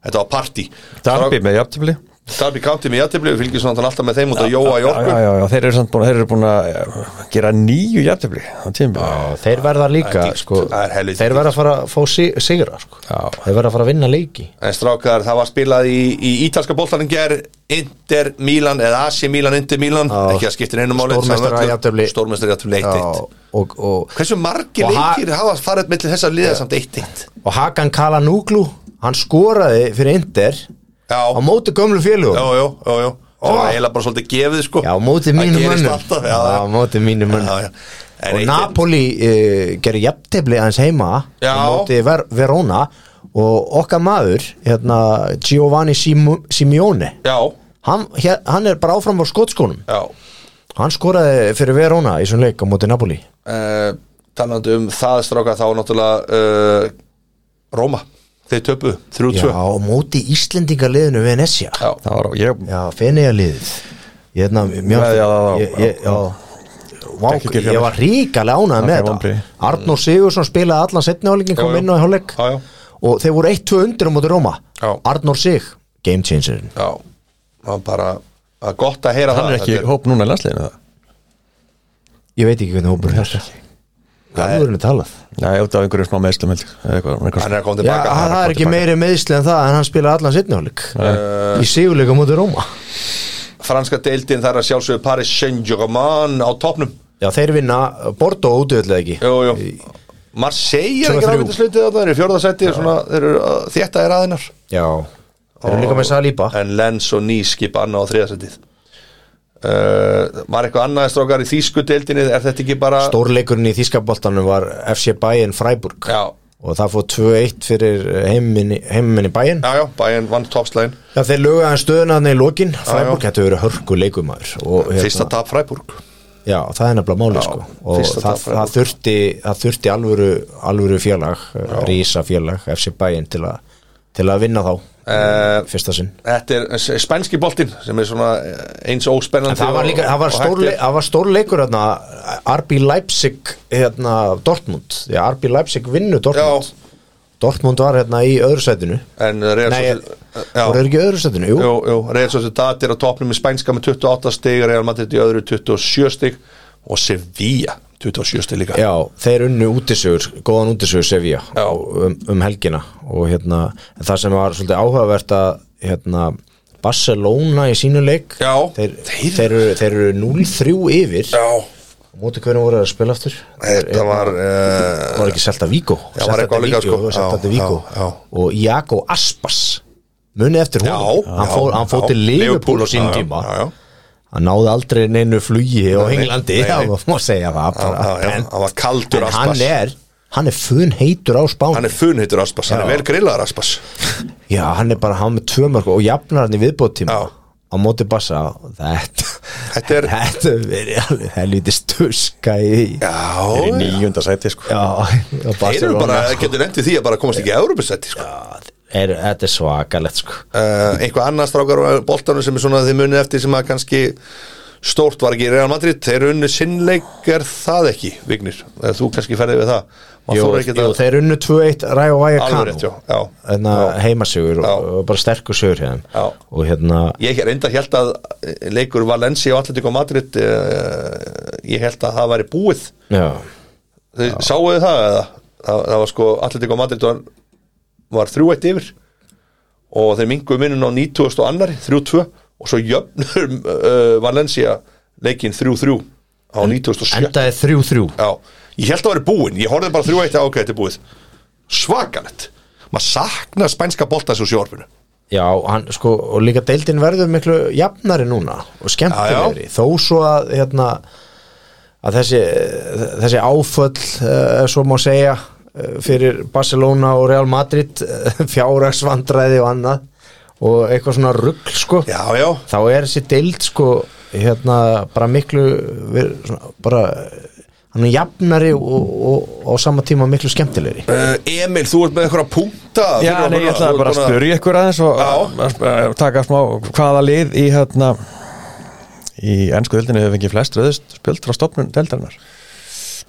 Speaker 1: þetta var party
Speaker 2: Darby með jafntöfli já,
Speaker 1: Darby County með jættibli, við fylgjum svona alltaf með þeim út að Jóa í orku
Speaker 2: já, já, þeir eru samt búin, þeir eru búin að eh, gera nýju jafntöfli á tímabili
Speaker 3: Já, þeir verða líka
Speaker 1: það er dýrt.
Speaker 3: sko,
Speaker 1: Það er helviti
Speaker 3: þeir verða að fara að fá sig- sigra sko.
Speaker 2: Já.
Speaker 3: þeir verða að fara að vinna leiki
Speaker 1: en strákar, það var spilað í, í ítalska bóltanum ger Inter Milan eða Asi Milan, Inter Milan
Speaker 3: Já.
Speaker 1: ekki að skipta einu máli
Speaker 3: Stórmeistarar í jafntefli.
Speaker 1: stórmestari jættibli 1-1
Speaker 3: og, og,
Speaker 1: hversu margir
Speaker 3: Og ha-
Speaker 1: leikir hafa farið mellir þessar liða samt 1-1
Speaker 3: og Hakan Kalanúglu hann skoraði fyrir Inder
Speaker 1: já,
Speaker 3: á móti gömlu félugum
Speaker 1: já,
Speaker 3: já,
Speaker 1: já, já, já.
Speaker 3: Ó.
Speaker 1: það var eiginlega bara svolítið gefið sko
Speaker 3: á móti
Speaker 1: Það
Speaker 3: mínum
Speaker 1: gerist
Speaker 3: mönnum
Speaker 1: alltaf, já,
Speaker 3: á móti mínum
Speaker 1: já, já,
Speaker 3: mönnum
Speaker 1: já. En
Speaker 3: og
Speaker 1: 1-1.
Speaker 3: Napoli uh, gerir jafntefli aðeins heima
Speaker 1: Já.
Speaker 3: á móti Ver Verona og okkar maður hérna, Giovanni Simu- Simeone
Speaker 1: já,
Speaker 3: hann, hér, hann er bara áfram á skotskónum
Speaker 1: já
Speaker 3: hann skoraði fyrir Verona í svona leik á móti Napoli
Speaker 1: uh, talandi um það stráka þá náttúrulega uh, Róma, þeir töpu 3-2
Speaker 3: Já, á móti Íslendingaliðinu Venecia
Speaker 1: Já.
Speaker 2: það var, ég
Speaker 3: Já, Feneyjaliðið Ég, hefna, mjör,
Speaker 2: Já, já, já, já.
Speaker 3: ég, ég, já. Vá,
Speaker 2: Ekki ekki
Speaker 3: ég var ríkalega ánað með
Speaker 2: Það er
Speaker 3: þetta
Speaker 2: vonbrigði.
Speaker 3: Arnór Sigursson spilaði allan setni hálfleikin
Speaker 1: Já,
Speaker 3: kom
Speaker 1: já.
Speaker 3: inn á í hálfleik
Speaker 1: Já, já.
Speaker 3: og þeir voru 1-2 undir á móti Róma
Speaker 1: Já.
Speaker 3: Arnór Sig, game changer
Speaker 1: já, það var bara það er gott að heyra
Speaker 2: hann
Speaker 1: það
Speaker 2: er ekki í
Speaker 1: Þetta
Speaker 2: hóp núna í landsliðinu það
Speaker 3: Ég veit ekki hvernig hópur er Garðurinn er talað
Speaker 2: já, ég út af einhverjum smá meðslum held ég, eða eitthvað, eitthvað.
Speaker 1: hann er að koma
Speaker 3: Já,
Speaker 1: tilbaka
Speaker 3: það er ekki meiri meðsli en það en hann spilaði allan setni hálfleik í Sigurleika móti Róma
Speaker 1: franska deildin þar að sjálfsögðu Paris Saint-Germain á topnum
Speaker 3: Já, þeir vinna Bordeaux útöðlega ekki
Speaker 1: jú, jú. Marseille er ekki
Speaker 3: 2-3.
Speaker 1: ráðviti slutið þarna, þeir eru í fjórðasætti svona, þeir eru að þétta er aðeinar
Speaker 3: Já Þeir eru líka með Saliba
Speaker 1: en Lenz og Nýs skipa annað á þriðasættið uh, var eitthvað annað strákar í þýsku deildinni er þetta ekki bara
Speaker 3: Stórleikurinn í Þískaboltanum var FC Bayern Freiburg
Speaker 1: Já.
Speaker 3: og það fór 2-1 fyrir heiminni, heiminni Bayern
Speaker 1: já, já, Bayern vann toppslægin
Speaker 3: Já, þeir lögaðan stöðuna þannig í lokin Freiburg
Speaker 1: já.
Speaker 3: hættu verið hörku leikumæður og, hérna-
Speaker 1: fyrsta tap Freiburg
Speaker 3: Já, það er nefnilega máli
Speaker 1: Já,
Speaker 3: sko og
Speaker 1: fyrsta
Speaker 3: það,
Speaker 1: tap Freiburg.
Speaker 3: það, þurfti, það þurfti alvöru, alvöru félag, rísa félag FC Bayern til að, til að vinna þá
Speaker 1: Eh,
Speaker 3: fyrsta sinn
Speaker 1: Þetta er s- spænski boltinn sem er svona eh, eins óspennandi
Speaker 3: En það var líka,
Speaker 1: og-
Speaker 3: það var
Speaker 1: og
Speaker 3: stór,
Speaker 1: hægt er.
Speaker 3: leik- það var stór leikur hérna, RB Leipzig hérna, Dortmund, því að RB Leipzig vinnu Dortmund
Speaker 1: Já.
Speaker 3: Dortmund var hérna í öðru sætinu
Speaker 1: En eh, Real
Speaker 3: Nei,
Speaker 1: Sociedad- Já.
Speaker 3: voru þeir ekki í öðru sætinu, jú,
Speaker 1: Jú, jú, Real Sociedad er á topnum í spænska með 28 stig, Real Madrid í öðru 27 stig og Sevilla 27 stig líka
Speaker 3: Já, þeir unnu útisugur, góðan útisugur Sevilla
Speaker 1: Já.
Speaker 3: um, um helgina og hérna, en það sem var svolítið áhugavert að hérna, Barcelona í sínu leik
Speaker 1: Já.
Speaker 3: þeir, þeir... eru, þeir eru 0-3 yfir
Speaker 1: Já,
Speaker 3: móti hvernig voru þeir að spila aftur hérna,
Speaker 1: þetta var uh,
Speaker 3: var ekki Selta Víkó
Speaker 1: Já, var eitthvað líka, sko. Já,
Speaker 3: Selta Víkó
Speaker 1: já, já.
Speaker 3: og Jakko Aspas munið eftir
Speaker 1: Já,
Speaker 3: hún hann
Speaker 1: já,
Speaker 3: fór, hann fór
Speaker 1: já.
Speaker 3: til Liverpool á sín
Speaker 1: já,
Speaker 3: tíma
Speaker 1: Já, já,
Speaker 3: hann náði aldrei neinu flugi á
Speaker 1: Nei,
Speaker 3: Englandi,
Speaker 1: nei, nei.
Speaker 3: það má segja það bara.
Speaker 1: já, já,
Speaker 3: En-
Speaker 1: hann var kaldur
Speaker 3: en
Speaker 1: Aspas
Speaker 3: hann er hann er fun heitur á Spáni
Speaker 1: Hann er funhittur Aspas, hann er
Speaker 3: Já.
Speaker 1: vel grillaður Aspas
Speaker 3: já, hann er bara hann með tvö mörg og jafnar hann í viðbóttíma
Speaker 1: Já.
Speaker 3: á móti bassa þetta
Speaker 1: Þetta er-
Speaker 3: þetta er verið alveg helviti stuska í
Speaker 2: Þeir eru í
Speaker 1: Já,
Speaker 2: nýjunda sæti sko
Speaker 3: já, á
Speaker 1: þeir eru
Speaker 3: Barcelona,
Speaker 1: bara,
Speaker 3: sko.
Speaker 1: getur nefnt í því að bara komast ekki í Európusætti sko.
Speaker 3: er, þetta er svakalegt sko
Speaker 1: uh, einhvað annað strákar á boltanum sem er svona þið munið eftir sem að kannski stórt var ekki í Real Madrid þeir unnu sinnleik er það ekki Vignir, Eða þú kannski ferði við það maður
Speaker 3: Jú,
Speaker 1: þóra ekki
Speaker 3: jú, þeir unnu 2-1 Ræja og Væja
Speaker 1: alveg rétt, já,
Speaker 3: Kano
Speaker 1: já.
Speaker 3: heimasugur Hérna, og,
Speaker 1: Já.
Speaker 3: og bara sterkur sugur hérna
Speaker 1: Já.
Speaker 3: og hérna
Speaker 1: ég reynda held að eh, leikur Valencia og Atletico Madrid uh, ég held að það væri búið
Speaker 3: já,
Speaker 1: þið sáu þið það eða það, það var sko Atletico Madrid var, var 3-1 yfir og þeir mingu minnum á 90 og annari 3-2 og svo jöfnur uh, Valencia leikin 3-3 á 90 og 7
Speaker 3: endaði 3-3
Speaker 1: Já, ég held að það væri búin Ég horfði bara 3-1 að ákveði þetta er búið Svakalett Maður saknar spænska boltans úr sjórfinu
Speaker 3: Já, hann, sko, og líka deildin verður miklu jafnari núna og skemmtilegri þó svo að, hérna, að þessi, þessi áföll eh, svo má segja eh, fyrir Barcelona og Real Madrid fjáragsvandræði og annað og eitthvað svona rugl sko,
Speaker 1: Já, já
Speaker 3: þá er þessi deild sko, hérna, bara miklu ver, svona, bara hann er jafnari og, og, og á sama tíma miklu skemmtilegri
Speaker 1: uh, Emil, þú ert með einhverja punta
Speaker 2: Já,
Speaker 1: fyrir okkur. Þú
Speaker 2: nei, ég ætlaði
Speaker 1: ert
Speaker 2: bara að
Speaker 1: búin
Speaker 2: spyrja ykkur aðeins og
Speaker 1: Já.
Speaker 2: að- að taka smá hvaða lið í hérna í ennsku deildinu hefur fengið flest rauðist spjöld frá stopnun deildarinnar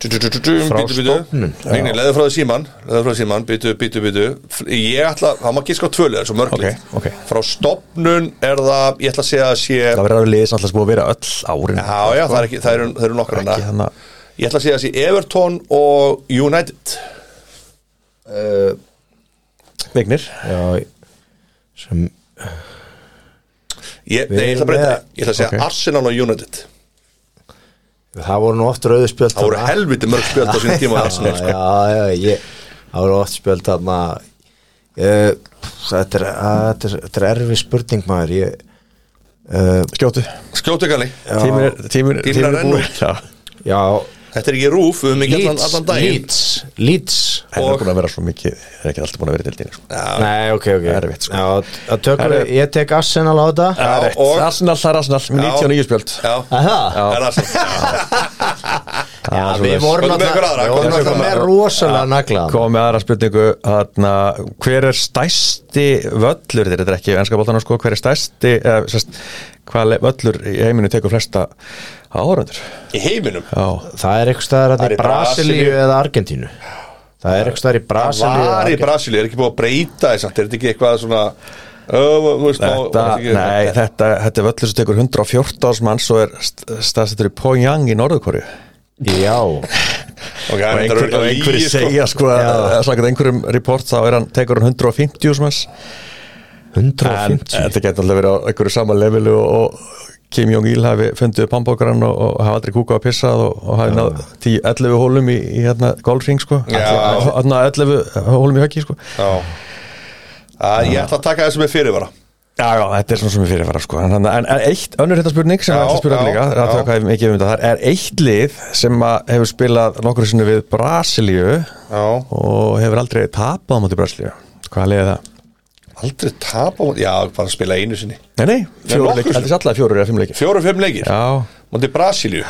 Speaker 1: Tú, tú, tú, tú, tú,
Speaker 2: Frá
Speaker 1: bítu, bítu.
Speaker 2: stofnun.
Speaker 1: Vigni, leðu frá því síman Leðu frá því síman, bítu, bítu, bítu Ég ætla, það má gíska á tvölu, það er svo mörglið
Speaker 2: Ok, ok.
Speaker 1: Frá stofnun er það, ég ætla að segja að sé Já,
Speaker 2: Það verður alveg lið sem alltaf búið að vera öll árin
Speaker 1: já, það er ekki, það eru, það eru nokkur
Speaker 2: Ekki
Speaker 1: hana
Speaker 2: þannig að-
Speaker 1: Ég ætla að segja að sé Everton og United
Speaker 3: uh,
Speaker 2: Vignir
Speaker 3: Já, sem
Speaker 1: Ég,
Speaker 3: Við
Speaker 1: nei, ég ætla
Speaker 3: erum
Speaker 1: að breyta
Speaker 3: með-
Speaker 1: því. Ég ætla að segja
Speaker 2: Ok.
Speaker 1: Arsenal og United
Speaker 3: Það voru nú oft rauðu spjöld
Speaker 1: Það voru
Speaker 3: þarna.
Speaker 1: helviti mörg spjöld á sínum tíma í Arsenal sko.
Speaker 3: Já, já, ég Það voru oft spjöld þarna uh, þetta, er, að, þetta, er, þetta er erfi spurning maður ég, uh,
Speaker 2: Skjótu
Speaker 1: Skjótu kanni
Speaker 2: Tímur er Tímur
Speaker 1: Tíminn
Speaker 2: tíminn
Speaker 1: er enn
Speaker 2: búinn.
Speaker 1: út.
Speaker 2: Já.
Speaker 3: Já,
Speaker 1: Þetta er ekki rúf, við höfum ekki allan,
Speaker 3: Leeds
Speaker 1: allan daginn
Speaker 3: Leeds, Leeds.
Speaker 2: Það er
Speaker 1: Og-
Speaker 2: búin að vera svo mikið Það er ekki alltaf búin að vera í deildinu sko.
Speaker 1: Já,
Speaker 3: Nei, ok, ok
Speaker 2: Erfitt, sko.
Speaker 3: já, það tökur,
Speaker 2: Erfitt.
Speaker 3: Ég tek Arsenal á þetta
Speaker 1: Já,
Speaker 2: Það er rétt.
Speaker 1: og-
Speaker 2: Arsenal, það er Arsenal Með
Speaker 1: Já.
Speaker 2: 99 spjöld
Speaker 1: já
Speaker 3: Aha,
Speaker 1: Það er Arsenal
Speaker 2: Það
Speaker 3: við
Speaker 2: er svoleiðis.
Speaker 1: Komdu
Speaker 3: vorum
Speaker 1: með ykkur aðra, komdu með
Speaker 3: alltaf
Speaker 1: ykkur
Speaker 3: með
Speaker 1: aðra.
Speaker 3: rosalega nagla
Speaker 2: Komum með aðra spurningu þarna, Hver er stæsti völlur Þetta er ekki ennska bóltana sko Hver er stæsti eh, sest, Hvað völlur í heiminu tekur flesta áhörundur
Speaker 1: Í heiminum
Speaker 2: Já
Speaker 3: Það er eitthvað
Speaker 1: Það
Speaker 3: staðar
Speaker 1: er
Speaker 3: þarna
Speaker 1: í
Speaker 3: í Brasilíu
Speaker 1: Brasilíu.
Speaker 3: eða Argentínu Það er eitthvað staðar í Brasilíu eða
Speaker 1: Var í
Speaker 3: Argentínu.
Speaker 1: Brasilíu, er ekki búið að breyta þess að Þetta er ekki eitthvað svona Ö, þú veist, má-
Speaker 2: Þetta,
Speaker 1: þetta ekki-
Speaker 2: nei, þetta, þetta er völlur sem tekur 114 manns og er staðsettur í Póngjang í Norðurkóriu
Speaker 3: Já,
Speaker 1: Ok, þetta
Speaker 2: og
Speaker 1: er
Speaker 2: einhver,
Speaker 1: örugglega
Speaker 2: og einhverju
Speaker 1: lygi, sko.
Speaker 2: segja sko að að samkvæmt einhverjum report þá er hann, tekur hann 150 sem hans en
Speaker 3: 150
Speaker 2: þetta getur alltaf verið á einhverju sama levelu og og Kim Jong-il hafi fundið upp hambókaran og, og hafa aldrei kúkað að pissað og, og hafi náð 10, 11 hólum í, í hérna golfring sko
Speaker 1: Já.
Speaker 2: Ætli- hérna 11 hólum í höggi sko
Speaker 1: Já Að Ég ætla að taka þessu með fyrirvara
Speaker 2: Já, já, þetta er svona sem við fyrirfara sko en, en, en eitt önnur hérna spurning sem
Speaker 1: Já,
Speaker 2: ég ætla að spura
Speaker 1: já,
Speaker 2: líka er að
Speaker 1: já.
Speaker 2: taka hvað ég mikið um þetta þar er eitt lið sem að hefur spilað nokkur sinni við Brasilíu
Speaker 1: Já
Speaker 2: og hefur aldrei tapað á móti Brasilíu Hvaða liðið það?
Speaker 1: Aldrei tapa á- Já, bara að spila einu sinni
Speaker 2: Nei, nei, fjóru
Speaker 1: nokkur
Speaker 2: leikir,
Speaker 1: sinnum.
Speaker 2: alltaf allar fjóru eða fimm leikir
Speaker 1: Fjóru og fimm leikir
Speaker 2: Já,
Speaker 1: Móti Brasilíu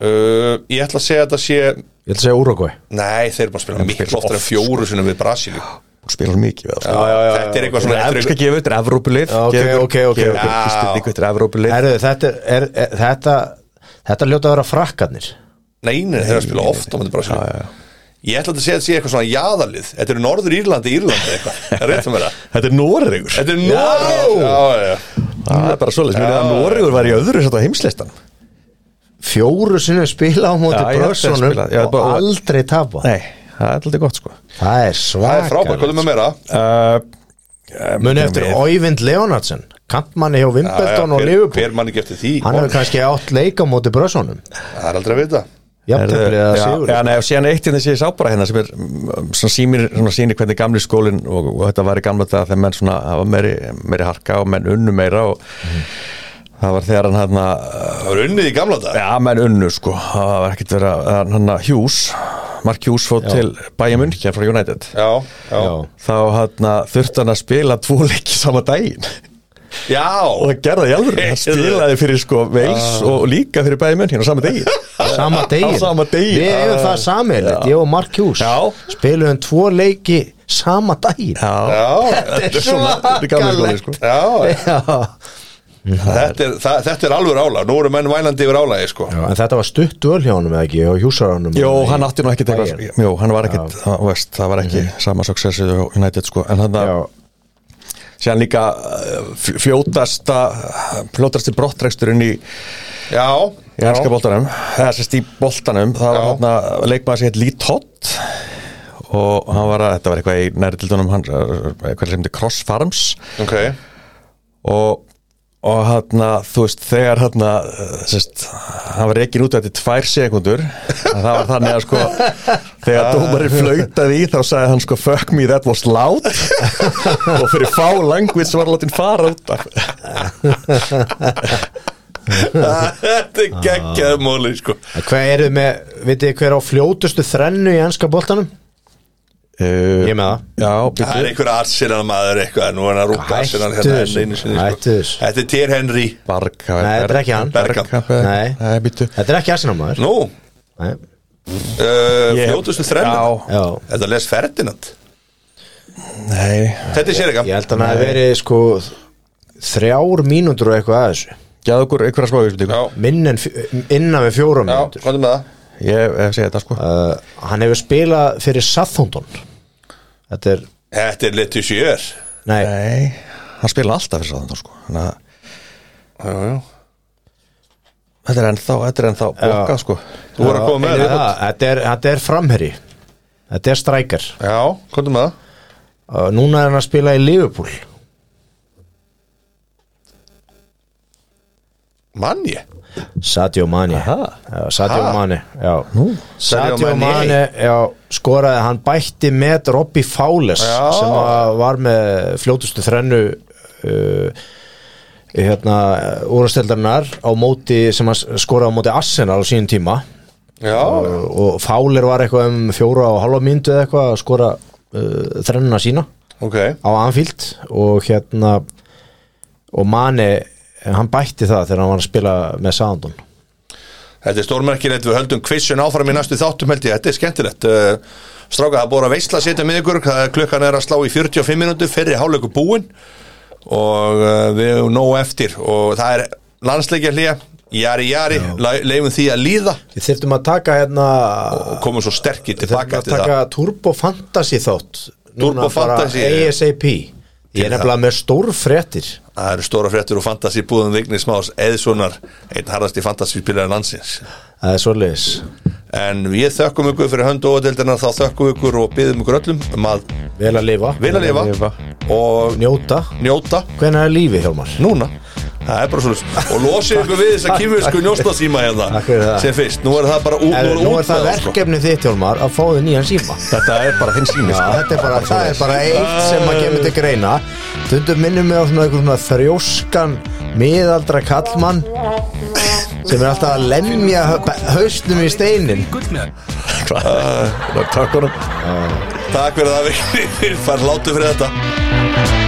Speaker 1: uh, Ég ætla að segja að þetta sé
Speaker 3: Ég ætla að segja Uruguay
Speaker 1: Nei, þeir eru bara að spila
Speaker 2: Þeir
Speaker 1: miklu
Speaker 2: spila
Speaker 1: oftar en
Speaker 2: oft,
Speaker 1: fjóru sinni við Brasilíu
Speaker 2: spila svo mikið við það, sko.
Speaker 3: Já, já, já,
Speaker 1: þetta er eitthvað
Speaker 2: Svona
Speaker 1: svona
Speaker 2: Evrópska gefur, þetta er Evrópulið
Speaker 3: Já, ok, ok, ok.
Speaker 2: gefur
Speaker 1: Já.
Speaker 2: Íslendingu, þetta er Evrópulið
Speaker 3: Herðu, þetta, er, er, þetta, þetta hljóta að vera frakkarnir
Speaker 1: neina þeir eru að spila oft á myndi Brasilíu ég ætla að segja að sé eitthvað svona jaðalið þetta eru Norður Írlandi, Írlandi eitthvað það er rétt um vera
Speaker 2: Þetta er Noregur
Speaker 1: þetta er Norður já, já, já.
Speaker 2: Það er bara svoleiðis, mér er að Noregur var í öðru sætt á heimslistan
Speaker 3: Fjóru sinnum spila á móti
Speaker 2: Já, ég held að
Speaker 3: brössunum
Speaker 2: spila, já,
Speaker 3: og
Speaker 2: bara-
Speaker 3: aldrei tapa
Speaker 2: Nei, það er alltaf gott sko
Speaker 3: Það er
Speaker 1: það er frábært, hvað er
Speaker 3: svakar
Speaker 1: með meira?
Speaker 2: uh,
Speaker 3: Muni eftir Óivind Leonardsen
Speaker 1: Já,
Speaker 3: Kampmanni hjá
Speaker 1: já,
Speaker 3: Wimbledon og
Speaker 1: hver,
Speaker 3: Liverpool
Speaker 1: hver mann ekki eftir því
Speaker 3: Hann hefur kannski átt leika á móti brössunum
Speaker 1: það er aldrei að vita
Speaker 3: Jafntefli eða sigur sko.
Speaker 2: Já, nei, og síðan eitt hérna sem ég sá bara hérna sem er mm, svona sýnir, svona sýnir hvernig gamli skólinn og, og þetta var í gamla þetta þegar menn svona hafa meiri, meiri harka og menn unnu meira og það var þegar hann hérna
Speaker 1: það var unnið í gamla dag
Speaker 2: Já, menn unnu sko, það var ekkert verið að hann- hann að Hughes, Mark Hughes fótt til Bayern München frá United
Speaker 1: já, já,
Speaker 3: Já.
Speaker 2: þá hann þurfti hann að spila tvo leiki sama daginn og
Speaker 1: já.
Speaker 2: það gerði það í alveg, hann spilaði fyrir sko Wales
Speaker 3: Ah.
Speaker 2: og líka fyrir Bayern München á sama degi
Speaker 3: Sama degin
Speaker 2: Á sama degi.
Speaker 3: Við eigum það sameiginlegt, ég og Mark Hughes
Speaker 2: Já.
Speaker 3: Spiluðum tvo leiki sama daginn
Speaker 2: Já,
Speaker 1: já.
Speaker 2: þetta er svona, þetta er gamla skóli sko
Speaker 1: já.
Speaker 3: Já.
Speaker 1: Þetta er, það, þetta er alveg ála, nú eru menn vælandi yfir álagi sko.
Speaker 3: Já, en þetta var stutt öl hjá honum eða ekki og hjúsaránum
Speaker 2: Jó, hann átti nú ekkert eitthvað
Speaker 3: Bayern. Mhm.
Speaker 2: Jó, hann var ekkert, það, veist, það var ekki sama successið og United sko En hann
Speaker 3: Já,
Speaker 2: það, síðan líka uh, fl- fljótasta, fljótasti brottreksturinn í,
Speaker 1: Já,
Speaker 2: í
Speaker 1: já,
Speaker 2: hanska boltanum Eða sérst í boltanum, það var
Speaker 1: Já.
Speaker 2: hann að leikmaður sér Lee Todd Og hann var að, þetta var eitthvað í næri tildunum hann, uh, Eitthvað sem þetta Cross Farms
Speaker 1: ok
Speaker 2: og og hann þú veist, þegar hann sérst, hann var reikin út eftir tvær sekundur það var þannig að sko þegar dómarinn flautaði í þá sagði hann sko fuck me that was loud og fyrir fá language var hann látin fara út af
Speaker 1: Þetta er geggjað móli sko.
Speaker 3: En Hvað eru með, vitið þið hver á fljótustu þrennu í ennska boltanum? Ég
Speaker 2: uh,
Speaker 3: með það
Speaker 2: já,
Speaker 1: Það er
Speaker 2: byrju,
Speaker 1: einhver Arsenal maður eitthvað Nú er hann að rúpa
Speaker 3: Hættu
Speaker 1: Arsenal hérna
Speaker 3: þessu,
Speaker 1: enn einu sinni,
Speaker 3: hættu
Speaker 1: sko.
Speaker 3: þessu.
Speaker 1: Þetta er Tyr Henry
Speaker 2: Barka
Speaker 3: Nei, þetta er ekki hann.
Speaker 2: Berga,
Speaker 3: Nei.
Speaker 2: nei, byrju
Speaker 3: Þetta er ekki asinamaður
Speaker 1: Nú,
Speaker 3: Nei
Speaker 1: uh, fljótustu þrennu
Speaker 2: já,
Speaker 3: Já
Speaker 1: Þetta les Ferdinand
Speaker 2: nei,
Speaker 1: Þetta er sér
Speaker 3: Ég
Speaker 1: eitthvað
Speaker 3: held að hann hafi verið sko þrjár mínútur og eitthvað að þessu
Speaker 2: gæðu okkur einhverja smávísbyrju
Speaker 1: Já,
Speaker 3: Minn en fjó- innan við fjóra
Speaker 1: já,
Speaker 3: mínútur
Speaker 1: hvað er með það?
Speaker 2: ég hef segið þetta sko
Speaker 3: uh, Hann hefur spilað fyrir Southampton Þetta er
Speaker 1: Þetta er litið sjör
Speaker 3: Nei,
Speaker 2: nei, hann spila alltaf fyrir sáðan sko, þannig að Þetta er ennþá, þetta er ennþá blokkað sko
Speaker 1: Þú voru að koma með
Speaker 3: Já,
Speaker 1: það
Speaker 3: Þetta er, þetta er framherri Þetta er strækar
Speaker 1: Já, hvað er með það?
Speaker 3: uh, Núna er hann að spila í Liverpool
Speaker 1: Manni
Speaker 3: Sadio Mani
Speaker 2: Aha.
Speaker 3: Já, Sadio
Speaker 1: Ha?
Speaker 3: Mani já.
Speaker 1: Sadio
Speaker 3: Sadio
Speaker 1: Mane.
Speaker 3: Mani já, skoraði, hann bætti með Robby Fowles
Speaker 1: Já.
Speaker 3: sem að var með fljótustu þrennu uh, í hérna úrasteldarinnar á móti sem hann skoraði á móti Arsenal á sínum tíma
Speaker 1: Já,
Speaker 3: og, og Fowler var eitthvað um fjóra og halva myndu eða eitthvað að skora uh, þrennuna sína
Speaker 1: ok
Speaker 3: á Anfield og hérna og Mani, hann bætti það þegar hann var að spila með Soundon
Speaker 1: Þetta er stórmerkilegt, við höldum kvissun áfram í næstu þáttum held ég, þetta er skemmtilegt uh, Stráka, það er búið að veisla setja með ykkur það er- klukkan er að slá í 45 minútu fyrir hálfleiku búin og uh, við erum nóg eftir og það er landsleikja hlýja jari jari, leifum því að líða
Speaker 3: Við þyrftum að taka hérna
Speaker 1: og komum svo sterkir
Speaker 3: þyrftum
Speaker 1: tilbaka
Speaker 3: að
Speaker 1: eftir
Speaker 3: taka
Speaker 1: það
Speaker 3: Turbo Fantasy þátt
Speaker 1: Turbo Fantasy,
Speaker 3: bara
Speaker 1: já.
Speaker 3: ASAP Ég
Speaker 1: Til
Speaker 3: er nefnilega með stór fréttir
Speaker 1: Það eru stóra fréttur og fantasi búðum Vignis Más Eðssonar, einn harðasti fantasi spilaði landsins
Speaker 3: Það er svoleiðis
Speaker 1: En við þökkum ykkur fyrir hönd og ódeldirna þá þökkum ykkur og byðum ykkur öllum um að
Speaker 3: Vel að lifa,
Speaker 1: vilja lifa
Speaker 2: lifa.
Speaker 1: og
Speaker 3: njóta
Speaker 1: njóta
Speaker 3: Hvenær er lífið Hjálmar?
Speaker 1: núna það er bara svona og losið ykkur við þess að kýmversku njóstasíma hérna
Speaker 3: Takk fyrir það.
Speaker 1: sem fyrst, nú er það bara út,
Speaker 3: Er, nú er það
Speaker 1: útlaðað, sko.
Speaker 3: verkefni þitt Hjálmar að fá þið nýjan síma
Speaker 2: Þetta er bara þinn sími
Speaker 3: Já,
Speaker 2: sko
Speaker 3: þetta er bara, það er bara eitt sem að kemur til greina Stundum minnum mig á svona einhver svona þrjóskan miðaldra kallmann sem er alltaf að lemja hau- hausnum í steinin
Speaker 2: Takk honum
Speaker 1: takk fyrir það við fara hlátu fyrir þetta